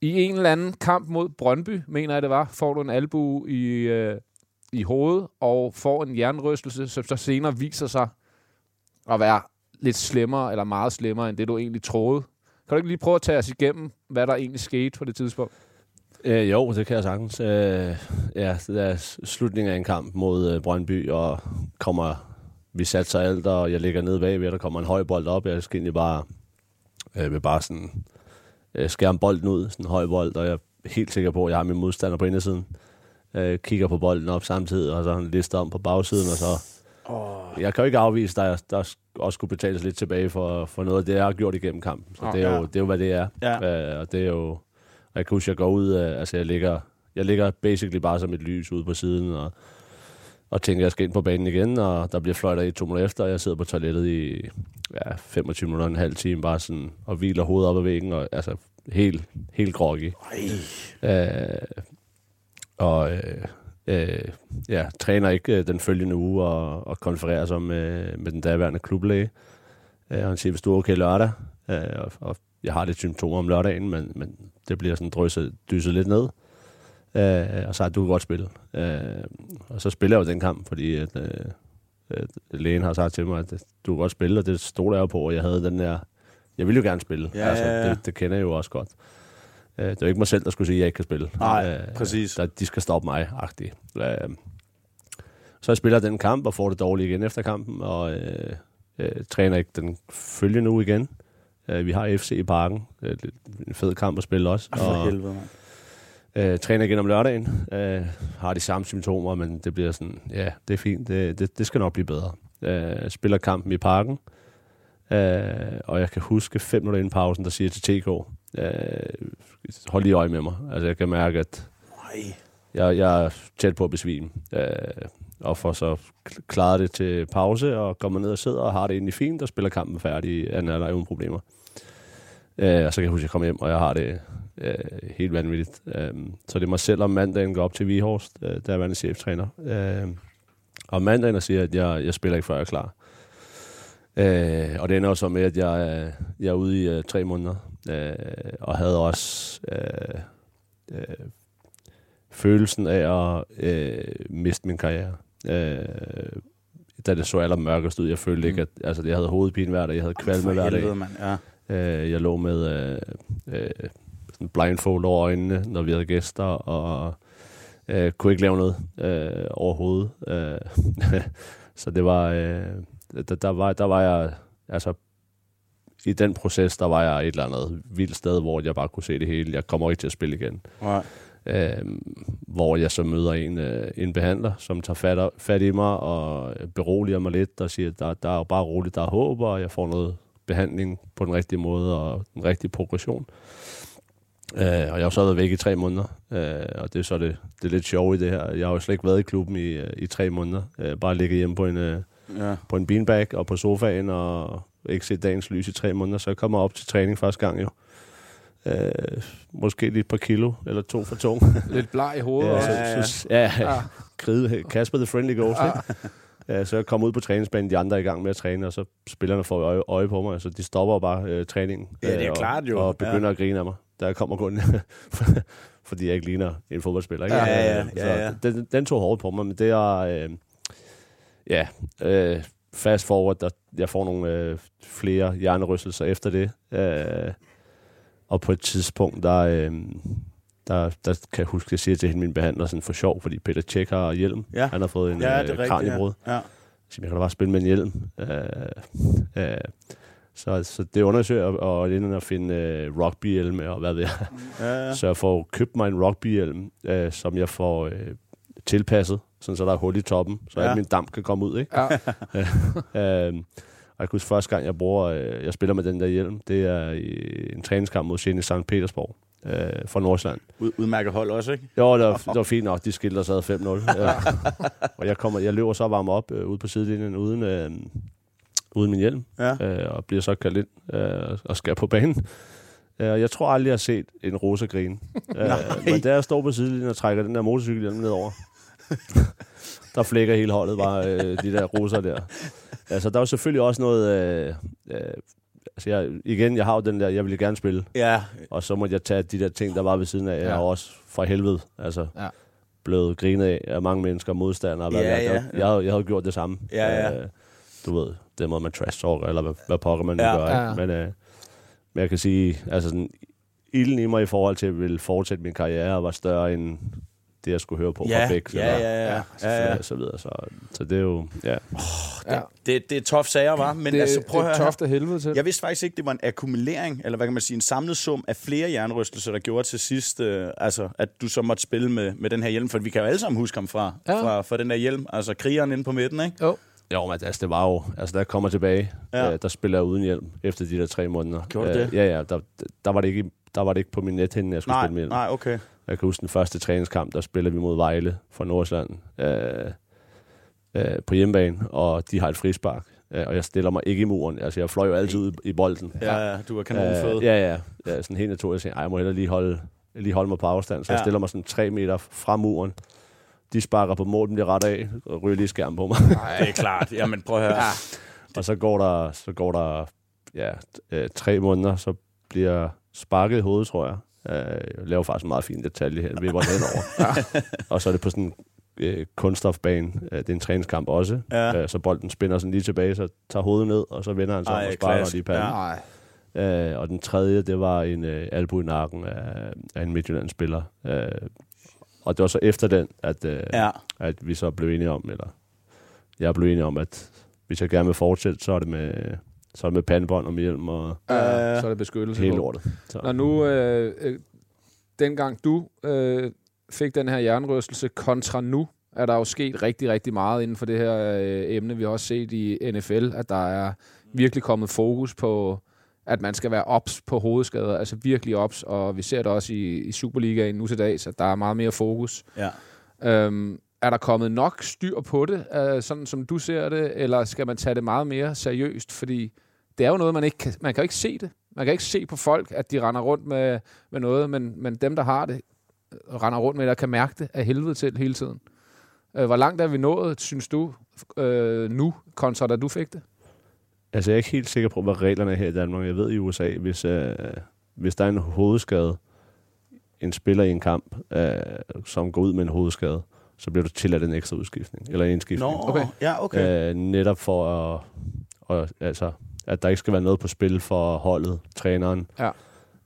S1: I en eller anden kamp mod Brøndby, mener jeg det var, får du en albue i, øh, i hovedet og får en jernrystelse, som så senere viser sig at være lidt slemmere eller meget slemmere end det, du egentlig troede. Kan du ikke lige prøve at tage os igennem, hvad der egentlig skete på det tidspunkt?
S2: Øh, jo, det kan jeg sagtens. Øh, ja, det er s- slutningen af en kamp mod øh, Brøndby, og kommer, vi satser alt, og jeg ligger nede bagved, og der kommer en høj bold op. Jeg skal egentlig bare, øh, vil bare sådan, øh, skærme bolden ud, sådan en høj bold, og jeg er helt sikker på, at jeg har min modstander på indersiden. Øh, kigger på bolden op samtidig, og så har han lister om på bagsiden, og så... Oh. Jeg kan jo ikke afvise, der, der sk- også skulle betales lidt tilbage for, for noget af det, jeg har gjort igennem kampen. Så
S1: Ah,
S2: det, er
S4: ja.
S2: jo, det er jo, hvad det er.
S4: Ja.
S2: Øh, og det er jo... Og jeg kan huske, jeg går ud, øh, altså jeg ligger, jeg ligger basically bare som et lys ude på siden, og, og tænker, jeg skal ind på banen igen, og der bliver fløjter i to minutter efter, og jeg sidder på toilettet i ja, 25 minutter, en halv time, bare sådan, og hviler hovedet op ad væggen, og altså helt, helt groggy. Øh, og øh, øh, ja, træner ikke øh, den følgende uge, og, og konfererer så med, med den daværende klublæge. Øh, og han siger, hvis du er okay lørdag, øh, og, og jeg har lidt symptomer om lørdagen, men, men det bliver sådan drysset, dyset lidt ned. Øh, og så har du kan godt spille. Øh, og så spiller jeg jo den kamp, fordi at, øh, at lægen har sagt til mig, at du kan godt spille, og det stod der jo på, og jeg havde den der, jeg ville jo gerne spille. Altså,
S4: Ja, ja, ja.
S2: Det, det kender jeg jo også godt. Øh, det er jo ikke mig selv, der skulle sige, at jeg ikke kan spille. Øh,
S4: Nej, præcis.
S2: Der, de skal stoppe mig, agtigt. Øh, så jeg spiller den kamp og får det dårligt igen efter kampen, og øh, øh, træner ikke den følgende uge igen. Øh, vi har FC i parken. Øh, det er en fed kamp at spille også.
S4: For
S2: Og,
S4: helvede, mand.
S2: øh, træner igen om lørdagen. Øh, har de samme symptomer, men det bliver sådan, ja, det er fint. Det, det, det skal nok blive bedre. øh, spiller kampen i parken. Øh, og jeg kan huske fem minutter inden pausen, der siger jeg til TK, øh, hold lige øje med mig. Altså, jeg kan mærke, at jeg, jeg er tæt på at besvime. Øh, og får så kl- klaret det til pause, og kommer ned og sidder og har det egentlig fint, og spiller kampen færdig, anden er der uden problemer. Øh, og så kan jeg huske, at jeg kom hjem, og jeg har det øh, helt vanvittigt. Øh, så det er mig selv om mandagen går op til Vihorst, øh, der er vandet cheftræner. Øh, og mandagen og siger, at jeg, jeg spiller ikke, før jeg er klar. Øh, og det ender jo så med, at jeg, er- jeg er ude i øh, tre måneder, øh, og havde også øh, øh, følelsen af at øh, miste min karriere. Øh, da det så allermørkest ud, jeg følte ikke, at altså, jeg havde hovedpine hver dag, jeg havde kvalme
S4: Mm. for
S2: hver dag.
S4: helvede, mand, ja.
S2: Øh, jeg lå med øh, øh, sådan blindfold over øjnene, når vi havde gæster, og øh, kunne ikke lave noget øh, overhovedet. Øh, så det var, øh, der, der, var, der var jeg, altså i den proces, der var jeg et eller andet vildt sted, hvor jeg bare kunne se det hele. Jeg kommer ikke til at spille igen.
S4: Nej.
S2: Øhm, hvor jeg så møder en, øh, en behandler, som tager fat, fat i mig og øh, beroliger mig lidt og siger, der, der er jo bare roligt, der er håb, og jeg får noget behandling på den rigtige måde og den rigtige progression. Øh, og jeg har jo så været væk i tre måneder, øh, og det er så det, det er lidt sjove i det her. Jeg har jo slet ikke været i klubben i, øh, i tre måneder. Øh, bare ligget hjemme på en, øh,
S4: Ja.
S2: ja. på en beanbag og på sofaen og ikke set dagens lys i tre måneder. Så jeg kommer op til træning første gang jo. Øh, måske lige et par kilo eller to for tung.
S1: Lidt bleg i hovedet
S2: ja,
S1: også.
S2: ja, så, så, ja,
S1: Ja.
S2: ja. Kride, Kasper the Friendly Ghost,
S1: Ja.
S2: ja. Ja, så jeg kom ud på træningsbanen, de andre er i gang med at træne, og så spillerne får øje, øje på mig, så de stopper jo bare øh, træningen.
S4: Ja, det er
S2: og,
S4: klart jo.
S2: Og begynder
S4: Ja.
S2: ja. at grine af mig, da jeg kommer kun, fordi jeg ikke ligner en fodboldspiller. Ikke?
S4: Ja, ja, ja,
S2: Så
S4: ja, ja.
S2: Den, den tog hårdt på mig, men det er... Øh, ja, øh, fast forward, der, jeg får nogle øh, flere hjernerystelser efter det. Øh, og på et tidspunkt, der, øh, der, der kan jeg huske, at jeg siger til hende, min behandler, sådan for sjov, fordi Peter Tjek har hjelm.
S4: Ja.
S2: Han har fået en
S4: Ja, det er
S2: ja,
S4: rigtigt,
S2: øh,
S4: ja.
S2: kranjebrud.
S4: Ja.
S2: Jeg siger, jeg kan da bare spille med en hjelm. Øh, øh, så, så det undersøger jeg, og ender at finde øh, rugbyhjelme og hvad ved jeg.
S4: Ja, ja.
S2: Så jeg får købt mig en rugbyhjelm, øh, som jeg får øh, tilpasset, sådan så der er hul i toppen, så
S4: Ja.
S2: ja. min damp kan komme ud. Ikke?
S1: Ja.
S2: øh, og jeg kan huske, første gang, jeg, bruger, øh, jeg spiller med den der hjelm, det er i en træningskamp mod Sjæne St. Petersborg øh, fra Nordsjælland.
S4: Ud, udmærket hold også, ikke?
S2: Jo, det var, det var fint nok. De skilte os ad 5-0. Ja. og jeg, kommer, jeg løber så varm op øh, ude på sidelinjen uden, øh, uden min hjelm.
S4: Ja.
S2: Øh, og bliver så kaldt ind øh, og skal på banen. Øh, og jeg tror aldrig, jeg har set en rosa grine. øh, men da jeg står på sidelinjen og trækker den der motorcykelhjelm nedover, der flækker hele holdet bare øh, de der roser der. Altså, der er jo selvfølgelig også noget... Øh, øh, altså, jeg, igen, jeg har jo den der, jeg ville gerne spille.
S4: Ja.
S2: Og så måtte jeg tage de der ting, der var ved siden af. Jeg er jo også fra helvede, altså,
S1: ja.
S2: blevet grinet af af mange mennesker, modstandere. og Hvad
S4: Ja,
S2: ja,
S4: ja.
S2: ja. Jeg, havde, jeg havde gjort det samme.
S4: Ja, ja.
S2: Øh, du ved, det måde, man trash talker, eller hvad, hvad pokker man nu
S4: Ja.
S2: gør. ikke?
S4: Ja.
S2: Men, øh, men jeg kan sige, altså sådan, ilden i mig i forhold til, at jeg ville fortsætte min karriere, var større end det, jeg skulle høre på
S4: Ja,
S2: fra Bæk.
S4: ja,
S2: eller-
S4: ja, ja.
S2: så,
S4: Ja, ja.
S2: Så, videre, så, så det er jo... Ja.
S1: Ja.
S4: Det, det er tof sager, var. Men
S1: Det-
S4: altså, prøv
S1: det er
S4: at høre
S1: toft af helvede til.
S4: Jeg vidste faktisk ikke, det var en akkumulering, eller hvad kan man sige, en samlet sum af flere jernrystelser, der gjorde til sidst, øh, altså, at du så måtte spille med, med den her hjelm. For vi kan jo alle sammen huske ham fra, ja.
S2: Ja.
S4: fra, fra den der hjelm. Altså, krigeren inde på midten, ikke?
S1: Jo.
S2: Jo, men altså, det var jo... Altså, da jeg kommer tilbage,
S4: Ja.
S2: ja. øh, der spiller jeg uden hjelm efter de der tre måneder. Øh,
S4: Gjorde du det?
S2: Ja, ja. Der, der, var det ikke, der var det ikke på min nethænde, jeg skulle
S4: Nej,
S2: spille med hjelm.
S4: nej, okay.
S2: Jeg kan huske den første træningskamp, der spiller vi mod Vejle fra Nordsjælland øh, øh, på hjemmebane, og de har et frispark. Øh, og jeg stiller mig ikke i muren. Altså, jeg fløj jo altid ud i bolden.
S4: Ja, ja, du er kanonfed.
S2: Øh, ja, ja, ja. Sådan helt naturligt. Jeg siger, "Ej, jeg må hellere lige holde, lige holde mig på afstand. Så ja. jeg
S4: Ja.
S2: stiller mig sådan tre meter fra muren. De sparker på mål, den bliver ret af, og ryger lige skærmen på mig.
S4: Nej, det er klart. Jamen, prøv at høre. Ja.
S2: Og så går der, så går der ja, t- øh, tre måneder, så bliver jeg sparket i hovedet, tror jeg. Øh, Jeg laver faktisk en meget fin detalje her, vi var henover. og så er det på sådan en øh, kunststofbane. Øh, Det er en træningskamp også.
S4: Ja.
S2: Øh, så bolden spinner sådan lige tilbage, så tager hovedet ned, og så vender han sig om
S4: Ej,
S2: og sparker
S4: klask.
S2: lige panden.
S4: Ja.
S2: Øh, og den tredje, det var en øh, albu i nakken af, af en Midtjylland-spiller. Øh, og det var så efter den, at, øh,
S4: Ja.
S2: at vi så blev enige om, eller jeg blev enig om, at hvis jeg gerne vil fortsætte, så er det med, så er det med pandebånd og med hjelm og
S4: øh,
S1: Ja, så er det beskyttelse
S2: hele
S1: på.
S2: lortet. Så.
S1: Når nu, øh, øh, dengang du øh, fik den her jernrystelse kontra nu, er der jo sket rigtig, rigtig meget inden for det her øh, emne. Vi har også set i NFL, at der er virkelig kommet fokus på, at man skal være ops på hovedskader, altså virkelig ops, og vi ser det også i, i Superligaen nu til dags, at der er meget mere fokus.
S4: Ja.
S1: Øhm, er der kommet nok styr på det, øh, sådan som du ser det, eller skal man tage det meget mere seriøst? Fordi det er jo noget, man ikke kan, man kan jo ikke se det. Man kan ikke se på folk, at de render rundt med, med noget, men, men dem, der har det, øh, render rundt med det og kan mærke det af helvede til hele tiden. Øh, hvor langt er vi nået, synes du, øh, nu, kontra da du fik det?
S2: Altså, jeg er ikke helt sikker på, hvad reglerne er her i Danmark. Jeg ved i USA, hvis, øh, hvis der er en hovedskade, en spiller i en kamp, øh, som går ud med en hovedskade, så bliver du tilladt en ekstra udskiftning, eller en indskiftning.
S4: Nå, Okay. ja, okay.
S2: Øh, netop for at, og, altså, at der ikke skal være noget på spil for holdet, træneren.
S1: Ja.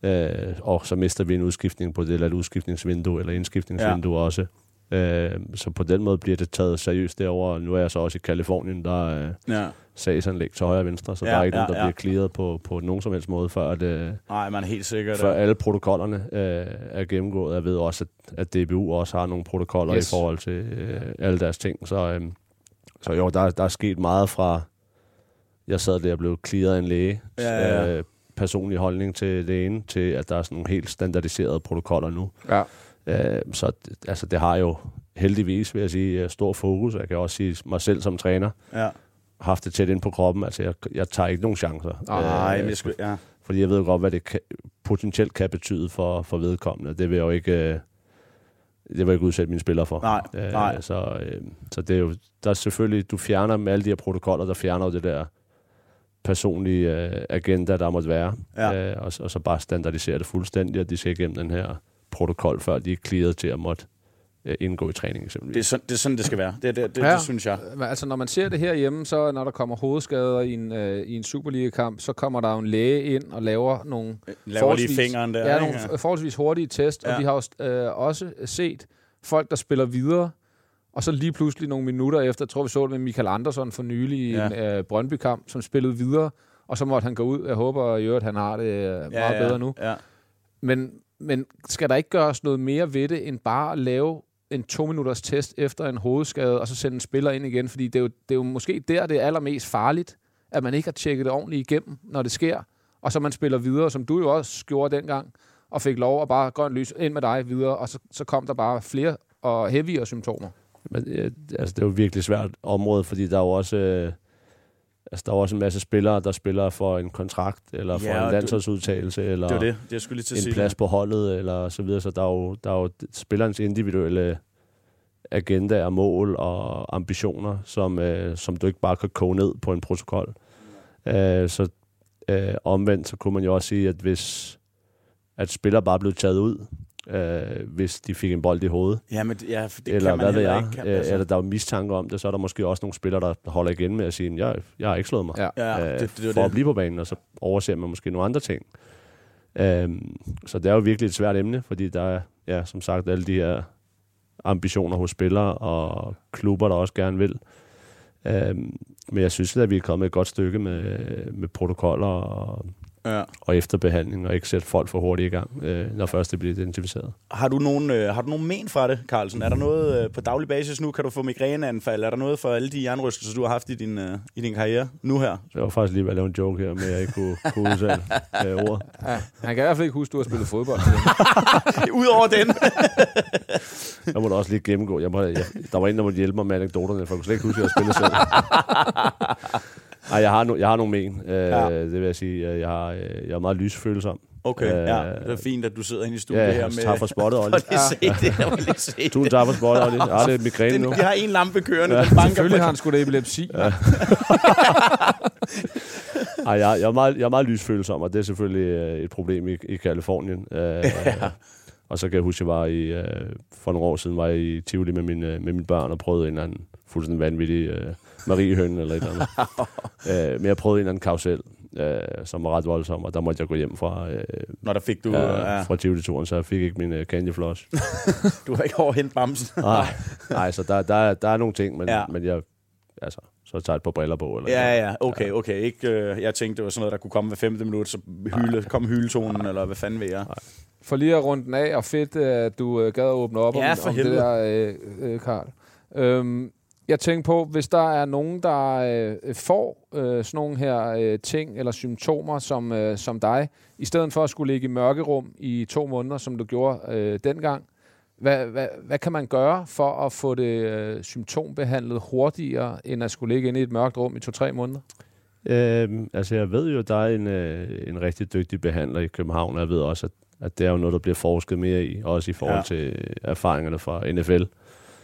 S2: Øh, og så mister vi en udskiftning på det, eller et udskiftningsvindue, eller indskiftningsvindue ja. også. Øh, så på den måde bliver det taget seriøst derover. Nu er jeg så også i Kalifornien, der øh,
S4: Ja.
S2: sagsanlæg til højre og venstre, så
S4: Ja,
S2: der er ikke
S4: ja,
S2: nogen, der
S4: ja.
S2: bliver clearet på, på nogen som helst måde, før, at, øh,
S4: Nej, man er helt sikkert.
S2: før alle protokollerne øh, er gennemgået. Jeg ved også, at, at DBU også har nogle protokoller
S4: Yes.
S2: yes. i forhold til øh, alle deres ting. Så, øh, så jo, der, der er sket meget fra, jeg sad der og blev clearet af en læge,
S4: Ja, ja, ja.
S2: Øh, personlig holdning til det ene, til at der er sådan nogle helt standardiserede protokoller nu.
S1: Ja.
S2: Øh, så d- altså, det har jo heldigvis, vil jeg sige, øh, stor fokus. Jeg kan også sige mig selv som træner,
S4: Ja.
S2: haft det tæt ind på kroppen. Altså, jeg, jeg tager ikke nogen chancer. Øh,
S4: Nej, men jeg skulle- ja.
S2: Fordi jeg ved jo godt, hvad det kan, potentielt kan betyde for, for vedkommende. Det vil jeg jo ikke, øh, det vil jeg ikke udsætte mine spillere for.
S4: Nej, nej.
S2: Så, øh, så det er jo, der er selvfølgelig, du fjerner med alle de her protokoller, der fjerner jo det der personlige øh, agenda, der måtte være.
S4: Ja.
S2: Øh, og, så- og så bare standardisere det fuldstændig, og de skal igennem den her protokol, før de er clearet til at måtte øh, indgå i træning eksempelvis.
S4: Det er, sådan, det er sådan, det skal være. Det, det, det,
S1: Ja.
S4: det synes jeg.
S1: Men Altså, når man ser det herhjemme, så når der kommer hovedskader i en, øh, i en Superliga-kamp, så kommer der jo en læge ind og laver nogle...
S4: lige
S1: forholdsvis-
S4: fingeren der,
S1: Ja,
S4: ikke?
S1: nogle f- forholdsvis hurtige test, ja.
S4: Ja.
S1: og vi har jo øh, også set folk, der spiller videre, og så lige pludselig nogle minutter efter, jeg tror vi så det med Michael Andersen for nylig i
S4: Ja.
S1: ja. en øh, Brøndby-kamp, som spillede videre, og så måtte han gå ud. Jeg håber i øvrigt, han har det øh, meget
S4: ja,
S1: bedre nu.
S4: Ja.
S1: Men, men skal der ikke gøres noget mere ved det, end bare at lave en to-minutters test efter en hovedskade, og så sende en spiller ind igen? Fordi det er, jo, det er jo måske der, det er allermest farligt, at man ikke har tjekket det ordentligt igennem, når det sker, og så man spiller videre, som du jo også gjorde dengang, og fik lov at bare grøn lys ind med dig videre, og så, så kom der bare flere og heavyere symptomer.
S2: Men, øh, altså, det er jo et virkelig svært område, fordi der er jo også... Øh, altså, der er jo også en masse spillere, der spiller for en kontrakt, eller for
S4: Ja, og
S2: en
S4: du-
S2: landsholdsudtagelse, eller
S4: det er det. Jeg skulle lige til at
S2: en
S4: sige
S2: plads
S4: det.
S2: på holdet, eller så videre. Så der er jo, der er jo spillerens individuelle agenda og mål og ambitioner, som, øh, som du ikke bare kan koge ned på en protokol. Øh, så øh, omvendt, så kunne man jo også sige, at hvis at spillere bare blev taget ud, øh, hvis de fik en bold i hovedet,
S4: Ja, men det- ja, for det
S2: eller
S4: kan man
S2: hvad ved
S4: heller
S2: jeg,
S4: ikke, kan-
S2: øh,
S4: altså.
S2: eller der er jo mistanke om det, så er der måske også nogle spillere, der holder igen med at sige, jeg, jeg har ikke slået mig,
S1: Ja.
S4: Ja, det- det er jo
S2: øh, for at
S4: det.
S2: blive på banen, og så overser man måske nogle andre ting. Øhm, så det er jo virkelig et svært emne, fordi der er, ja, som sagt, alle de her ambitioner hos spillere og klubber, der også gerne vil. Øhm, men jeg synes, at vi er kommet et godt stykke med, med protokoller og,
S4: Ja.
S2: og efterbehandling, og ikke sætte folk for hurtigt i gang, øh, når først det bliver identificeret.
S4: Har du nogen, øh, har du nogen men fra det, Carlsen? Er
S2: Mm.
S4: der noget øh, på daglig basis nu? Kan du få migræneanfald? Er der noget for alle de jernrystelser, du har haft i din, øh, i din karriere nu her?
S2: Så jeg var faktisk lige ved at lave en joke her, men jeg ikke kunne, kunne udtale øh, ordet.
S1: Ja, han kan i hvert fald ikke huske, at du har spillet fodbold.
S4: Udover den.
S2: Jeg må da også lige gennemgå. Jeg må, jeg, der var en, der måtte hjælpe mig med anekdoterne, for jeg kunne slet ikke huske, at jeg spillede selv. Ej, jeg har, no, jeg har nogle men. Øh,
S4: Ja.
S2: ja. Det vil jeg sige. Jeg, jeg, har, øh, jeg er meget lysfølsom.
S4: Okay,
S2: Øh,
S4: ja. Det er fint, at du sidder inde i studiet
S2: ja,
S4: her
S2: jeg
S4: med...
S2: tager for spottet, Olli.
S4: Olli. Ja. Se
S2: Ja.
S4: det, jeg vil ikke se det.
S2: Tusind tak for spottet, Olli. Jeg har lidt migræne
S4: Den-
S2: nu.
S4: Vi har en lampe kørende,
S2: Ja.
S4: ja. den banker
S2: Selvfølgelig har han
S1: sgu da epilepsi.
S2: Ja. Ej, jeg, jeg, er meget, jeg er meget lysfølsom, og det er selvfølgelig øh, et problem i, i Kalifornien. Øh, ja. Og så kan jeg huske, at jeg var i, øh, for nogle år siden var jeg i Tivoli med mine, med mine børn og prøvede en eller anden fuldstændig vanvittig øh, Mariehøn eller et eller andet. øh, men jeg prøvede en eller anden karusel, øh, som var ret voldsom, og der måtte jeg gå hjem fra, øh,
S4: Når der fik du...
S2: øh,
S4: Ja.
S2: fra Tivoli-turen, så jeg fik ikke min øh, candy floss.
S4: Du har ikke overhændt bamsen.
S2: Nej, nej så der, der, er- der er nogle ting, men,
S4: Ja.
S2: ja. men jeg, altså, så tager jeg et par briller på. Eller
S4: Ja, ja, okay, okay. Ikke, øh, jeg tænkte, det var sådan noget, der kunne komme hver femte minut, så hyle, kom hyletonen, eller hvad fanden ved jeg.
S1: For lige at runde den af, og fedt, at du øh, gad at åbne op
S4: Ja,
S1: om,
S4: for
S1: om det
S4: helvede.
S1: der, øh, øh, Karl. Øhm, jeg tænker på, hvis der er nogen, der øh, får øh, sådan nogle her øh, ting eller symptomer som, øh, som dig, i stedet for at skulle ligge i mørkerum i to måneder, som du gjorde øh, dengang, hvad, hvad, hvad kan man gøre for at få det øh, symptombehandlet hurtigere, end at skulle ligge inde i et mørkt rum i to-tre måneder?
S2: Øhm, altså, jeg ved jo, at der er en, øh, en rigtig dygtig behandler i København, og jeg ved også, at, at det er jo noget, der bliver forsket mere i, også i forhold
S4: Ja.
S2: ja. til øh, erfaringerne fra NFL.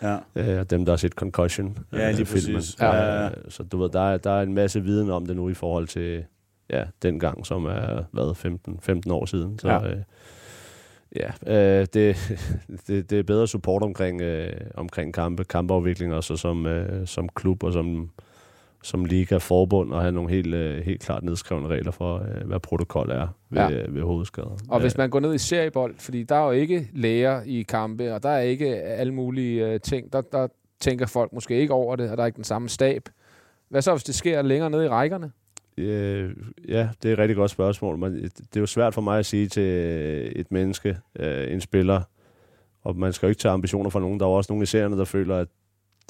S4: Ja.
S2: Øh, og dem, der har set Concussion. øh,
S4: Ja, lige
S2: filmen.
S4: præcis. Ja, ja, ja.
S2: Øh, så du ved, der er, der er en masse viden om det nu i forhold til ja, dengang, som er været 15, 15 år siden. Så,
S1: Ja.
S2: ja. Øh, ja, øh, det, det, det er bedre support omkring, øh, omkring kampe, kampeafvikling, og så som, øh, som klub og som, som liga forbund, og have nogle helt, øh, helt klart nedskrevne regler for, øh, hvad protokol er ved,
S1: Ja.
S2: ja. ved Øh. hovedskader.
S1: Og hvis man går ned i seriebold, fordi der er jo ikke læger i kampe, og der er ikke alle mulige øh, ting, der, der tænker folk måske ikke over det, og der er ikke den samme stab. Hvad så, hvis det sker længere nede i rækkerne?
S2: Øh, ja, det er et rigtig godt spørgsmål. Men det det er jo svært for mig at sige til øh, et menneske, øh, en spiller, og man skal jo ikke tage ambitioner fra nogen. Der er jo også nogle i serierne, der føler, at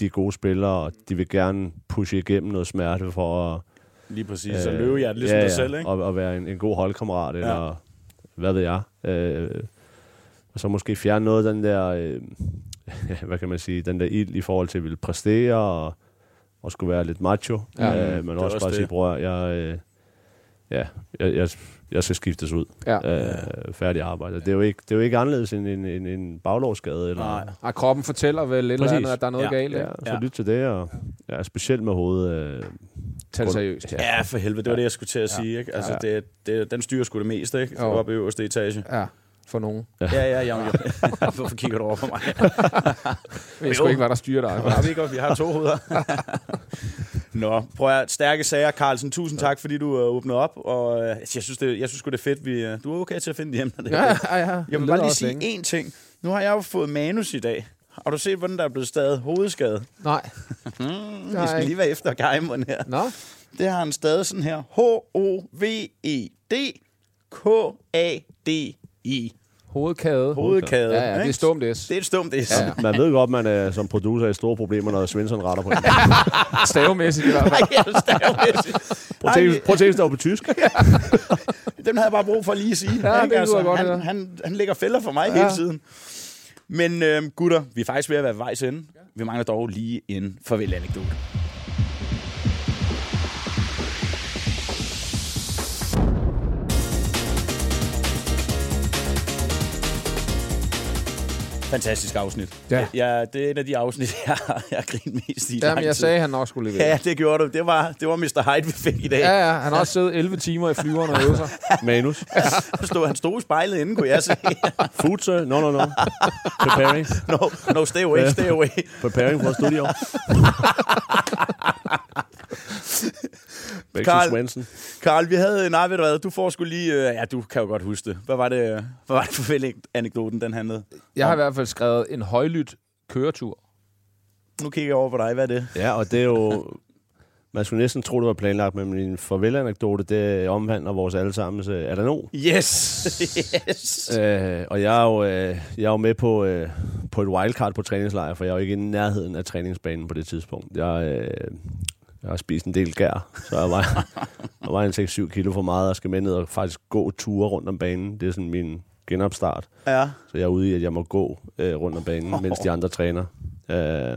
S2: de er gode spillere, og de vil gerne pushe igennem noget smerte for at...
S4: Lige præcis, og
S1: Øh,
S4: løvehjerte, ligesom
S2: Øh, ja,
S4: dig
S2: ja,
S4: selv, ikke?
S2: Og, og være en, en god holdkammerat, eller
S4: Ja.
S2: hvad ved jeg. Øh, og så måske fjerne noget af den der, øh, hvad kan man sige, den der ild i forhold til at ville præstere, og, og skulle være lidt macho.
S1: Ja.
S2: øh, men
S1: Det er
S2: også,
S1: også
S2: bare
S1: det.
S2: sige, bror, jeg, øh, ja, jeg, jeg, jeg skal skiftes ud.
S1: Ja.
S2: Øh, færdig arbejde. Det er, jo ikke, det er jo ikke anderledes end en, en, en baglovsskade. Eller,
S1: Nej. Og kroppen fortæller vel et eller andet, at der er noget
S2: ja.
S1: galt.
S2: Ja,
S1: ikke?
S2: så lyt til det, og ja, specielt med hovedet. Øh,
S1: Tag
S2: grund-
S1: det seriøst.
S4: Ja, for helvede, det var det, jeg skulle til at sige. Ikke? Altså,
S1: Ja.
S4: det, det, den styrer sgu det meste, ikke?
S1: Jo.
S4: Oppe i øverste etage.
S1: Ja, for nogen.
S4: Ja, ja, ja. ja. Hvorfor kigger du over på mig?
S1: Jeg ved sgu ikke, hvad der styrer dig.
S4: Har vi ikke, vi har to hoveder. Nå, prøv at stærke sager, Carlsen. Tusind tak, fordi du øh, åbnede op. Og øh, jeg synes, det, jeg synes sgu, det er fedt. Vi, øh, du er okay til at finde hjem.
S1: Ja, ja, ja.
S4: Jeg
S1: Vi
S4: vil
S1: leder
S4: bare lige
S1: også
S4: sige én ting. Nu har jeg jo fået manus i dag. Har du set, hvordan der er blevet stadig hovedskade?
S1: Nej.
S4: Mm,
S1: Nej.
S4: vi skal lige være efter gejmeren her.
S1: Nå.
S4: Det har han stadig sådan her. H-O-V-E-D K-A-D-I.
S1: Hovedkade.
S4: Hovedkade.
S1: Ja, ja, det er
S4: ikke?
S1: stumt S.
S4: Det er et stumt S.
S2: Ja. Man ved godt, man er som producer i store problemer, når Svensson retter på en.
S1: Stavemæssigt i hvert
S4: fald.
S2: Prøv at tænke- prøv at tænke, hvis det var på tysk.
S4: Den havde jeg bare brug for lige at sige.
S1: Ja,
S4: Ikke? Altså,
S1: det lyder godt,
S4: han,
S1: ja.
S4: han, han lægger fælder for mig
S1: Ja.
S4: ja. hele tiden. Men øhm, gutter, vi er faktisk ved at være ved vejs ende. Vi mangler dog lige en farvel-anekdote. Fantastisk afsnit.
S1: Ja.
S4: ja. det er en af de afsnit, jeg har jeg har grint mest i lang
S1: Jamen, jeg
S4: tid.
S1: sagde, at han nok skulle levere.
S4: Ja, det gjorde du. Det var, det var Mr. Hyde, vi fik i dag.
S1: Ja, ja, han har også siddet 11 timer i flyveren og øvet sig.
S2: Manus.
S4: Han stod, han stod i spejlet inden, kunne jeg se.
S2: Food, sir? No, no, no. Preparing.
S4: No, no stay away,
S2: Ja.
S4: stay away.
S2: Preparing for studio. Back to Svensson.
S4: Carl, vi havde... Nej, ved du hvad, du får sgu lige... øh, Ja, du kan jo godt huske det. Hvad var det, øh, hvad var det for fælde- anekdoten, den handlede?
S1: Jeg har i hvert fald skrevet en højlydt køretur.
S4: Nu kigger jeg over på dig. Hvad er det?
S2: Ja, og det er jo... Man skulle næsten tro, det var planlagt, men min farvel-anekdote, det omhandler vores allesammens øh, Adano.
S4: Yes! yes!
S2: Øh, og jeg er, jo, øh, jeg er jo med på, øh, på et wildcard på træningslejr, for jeg er jo ikke i nærheden af træningsbanen på det tidspunkt. Jeg, øh, jeg har spist en del gær, så jeg var, jeg var en 6-7 kilo for meget, og skal med ned og faktisk gå ture rundt om banen. Det er sådan min genopstart.
S4: Ja.
S2: Så jeg er ude i, at jeg må gå øh, rundt om banen, mens de andre træner. Øh,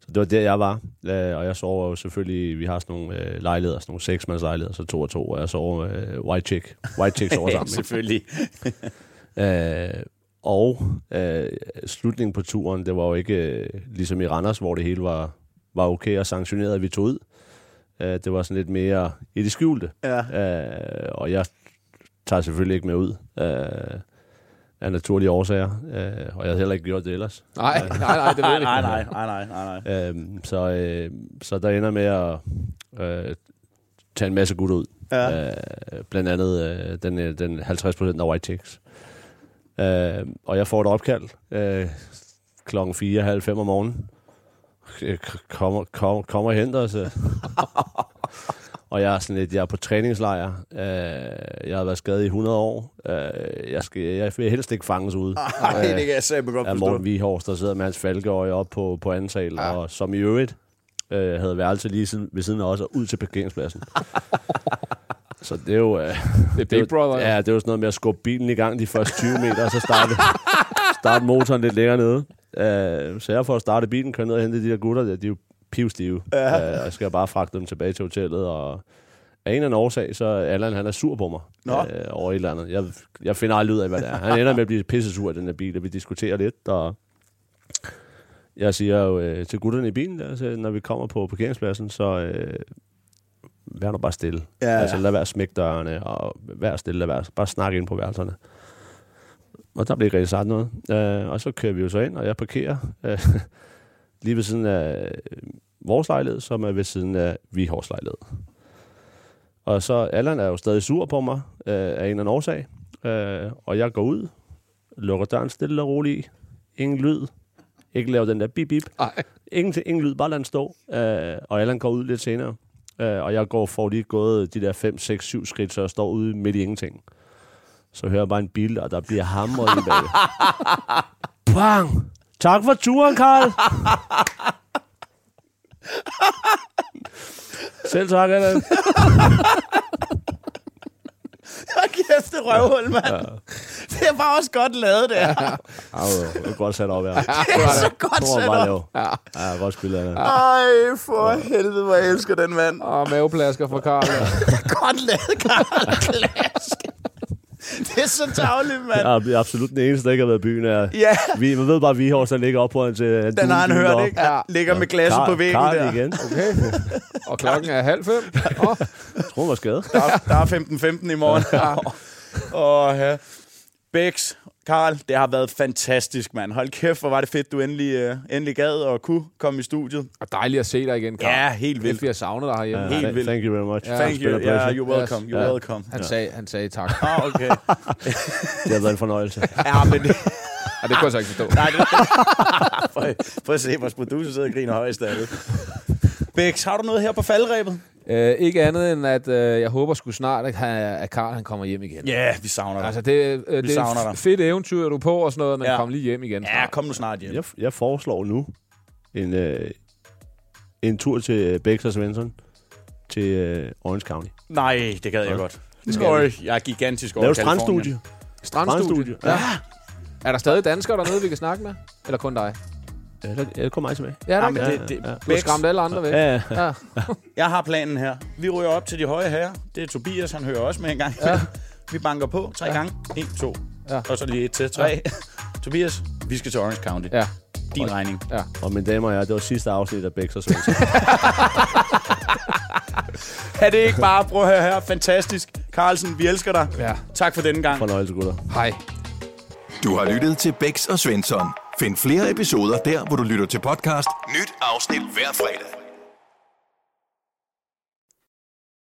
S2: så det var der, jeg var. Øh, og jeg sover jo selvfølgelig, vi har sådan nogle øh, lejligheder, sådan nogle seksmandslejligheder, så to og to, og jeg sover øh, white chick. White chick sover sammen. ikke?
S4: Selvfølgelig.
S2: Øh, og øh, slutningen på turen, det var jo ikke øh, ligesom i Randers, hvor det hele var, var okay og sanktioneret, at vi tog ud. Øh, det var sådan lidt mere i det skjulte.
S4: Ja.
S2: Øh, og jeg tager selvfølgelig ikke med ud øh, af naturlige årsager, øh, og jeg havde heller ikke gjort det ellers.
S1: Nej, nej, nej, det ved jeg ikke.
S4: Nej, nej, nej, nej, nej, nej.
S2: Øhm, så, øh, så der ender med at øh, tage en masse gutter ud.
S4: Ja.
S2: Øh, blandt andet øh, den, øh, den 50 procent af White Chicks. Øh, og jeg får et opkald øh, klokken 4, halv fem om morgenen. Øh, k- Kommer, kommer, kommer og henter os. øh. Og jeg er sådan lidt, jeg er på træningslejr. Øh, jeg har været skadet i 100 år. Øh, jeg, skal, jeg vil helst ikke fanges ude.
S4: Ej, det kan jeg sætte godt
S2: af
S4: forstå.
S2: Morten Vihorst, der sidder med hans falkeøje op på, på anden sal, og som i øvrigt øh, havde værelse lige siden, ved siden af os og ud til parkeringspladsen. Så det er jo... Øh, det er
S1: Big Brother,
S2: Ja, det er jo sådan noget med at skubbe bilen i gang de første 20 meter, og så starte, starte motoren lidt længere nede. Øh, så jeg får starte bilen, kører ned og hente de der gutter, der, de er jo pivstive.
S4: Ja.
S2: Øh, og jeg skal bare fragte dem tilbage til hotellet, og af en eller anden årsag, så er Allan, han er sur på mig
S4: Nå.
S2: Øh, over et eller andet. Jeg, jeg finder aldrig ud af, hvad det er. Han ender med at blive pissesur i den her bil, og vi diskuterer lidt, og jeg siger jo øh, til gutterne i bilen, der, så, når vi kommer på parkeringspladsen, så øh, vær nu bare stille.
S4: Ja, ja.
S2: altså lad være at smække dørene, og vær stille, lad være, bare snak ind på værelserne. Og der blev ikke rigtig sagt noget. Øh, og så kører vi jo så ind, og jeg parkerer øh, lige ved siden af øh, vores lejlighed, som er ved siden af Vihors lejlighed. Og så Allan er jo stadig sur på mig øh, af en eller anden årsag. Øh, og jeg går ud, lukker døren stille og roligt i. Ingen lyd. Ikke lave den der bip bip. Ingen, ingen lyd, bare lad den stå. Øh, og Allan går ud lidt senere. Øh, og jeg går for lige gået de der 5, 6, 7 skridt, så jeg står ude midt i ingenting. Så hører jeg bare en bil, og der bliver hamret i bag. Bang! Tak for turen, Karl! Selv tak, Allan.
S6: Hold kæft, det røvhul, mand.
S2: Ja.
S6: Det var også godt lavet, der.
S2: Ej, det var godt sat op, ja. Det
S6: er så godt sat op.
S2: Ja, ja godt spillet, Allan.
S6: Ej, for helvede, hvor jeg elsker den mand.
S1: Og maveplasker fra Karl.
S6: godt lavet, Karl. Klask. Det er så tavligt, mand.
S2: Jeg er absolut den eneste, der ikke har været i byen. Er,
S6: Ja.
S2: vi, man ved bare, at Vihors, der ligger op på en til...
S6: Den har han hørt, ikke? Han ligger med glasset på væggen
S2: Karl
S6: der.
S2: igen.
S1: Okay. Og klokken er halv fem. Oh.
S2: Jeg tror, hun var skadet.
S4: Der er, der er 15-15 i morgen. Åh, ja. Bex, Karl, det har været fantastisk, mand. Hold kæft, hvor var det fedt, du endelig, uh, endelig gad og kunne komme i studiet.
S1: Og dejligt at se dig igen, Karl.
S4: Ja, helt vildt.
S1: Kæft, vi har savnet dig herhjemme.
S4: Helt vildt.
S2: Thank you very much.
S1: Ja.
S4: Thank
S2: It's been
S4: you.
S2: a pleasure.
S4: Yeah, you're welcome. You're
S2: Ja.
S4: welcome.
S1: Han, sagde, han sagde tak.
S4: Ah, okay.
S2: Det har været en fornøjelse.
S4: Ja, men det...
S1: Og det kunne jeg så ikke forstå.
S4: Nej, det... prøv, prøv at se, vores producer sidder og griner højst af det. Bex, har du noget her på faldrebet?
S1: Øh, ikke andet end, at øh, jeg håber sgu snart, at, han, at Karl han kommer hjem igen.
S4: Ja, yeah, vi savner dig.
S1: Altså, det, øh,
S4: Vi
S1: det
S4: savner
S1: er
S4: dig.
S1: et fedt eventyr, du er på og sådan noget, men
S4: Ja.
S1: ja. kom lige hjem igen.
S4: Ja, kom nu snart hjem.
S2: Jeg, jeg foreslår nu en, øh, en tur til Bex og Svensson til øh, Orange County.
S4: Nej, det gad jeg godt.
S1: Det skal
S4: Øj, jeg er gigantisk over
S2: Lav
S4: Californien.
S2: strandstudie.
S1: Strandstudie.
S2: Strandstudie. Ja.
S1: Er der stadig danskere dernede, vi kan snakke med? Eller kun dig?
S2: Ja, der, ja, der kommer mig tilbage.
S1: Ja, der
S4: Jamen,
S1: er-
S4: det, det,
S1: Du har
S4: Bex,
S1: skræmt alle andre væk.
S2: Ja, ja.
S1: Ja.
S4: Jeg har planen her. Vi ryger op til de høje herrer. Det er Tobias, han hører også med en gang. Ja. Vi banker på tre ja. gange. En, to. Ja.
S1: Ja.
S4: Og så lige et til tre. Ja. Tobias, vi skal til Orange County.
S1: ja.
S4: Din regning.
S2: Og mine damer og herrer, det var sidste afsnit af Bex og Svensson.
S4: Er det ikke bare, prøv at høre her, fantastisk. Carlsen, vi elsker dig.
S1: Ja.
S4: Tak for denne gang.
S2: fornøjelse, gutter.
S1: Hej.
S3: Du har lyttet til Bæks og Svensson. Find flere episoder der, hvor du lytter til podcast. Nyt afsnit hver fredag.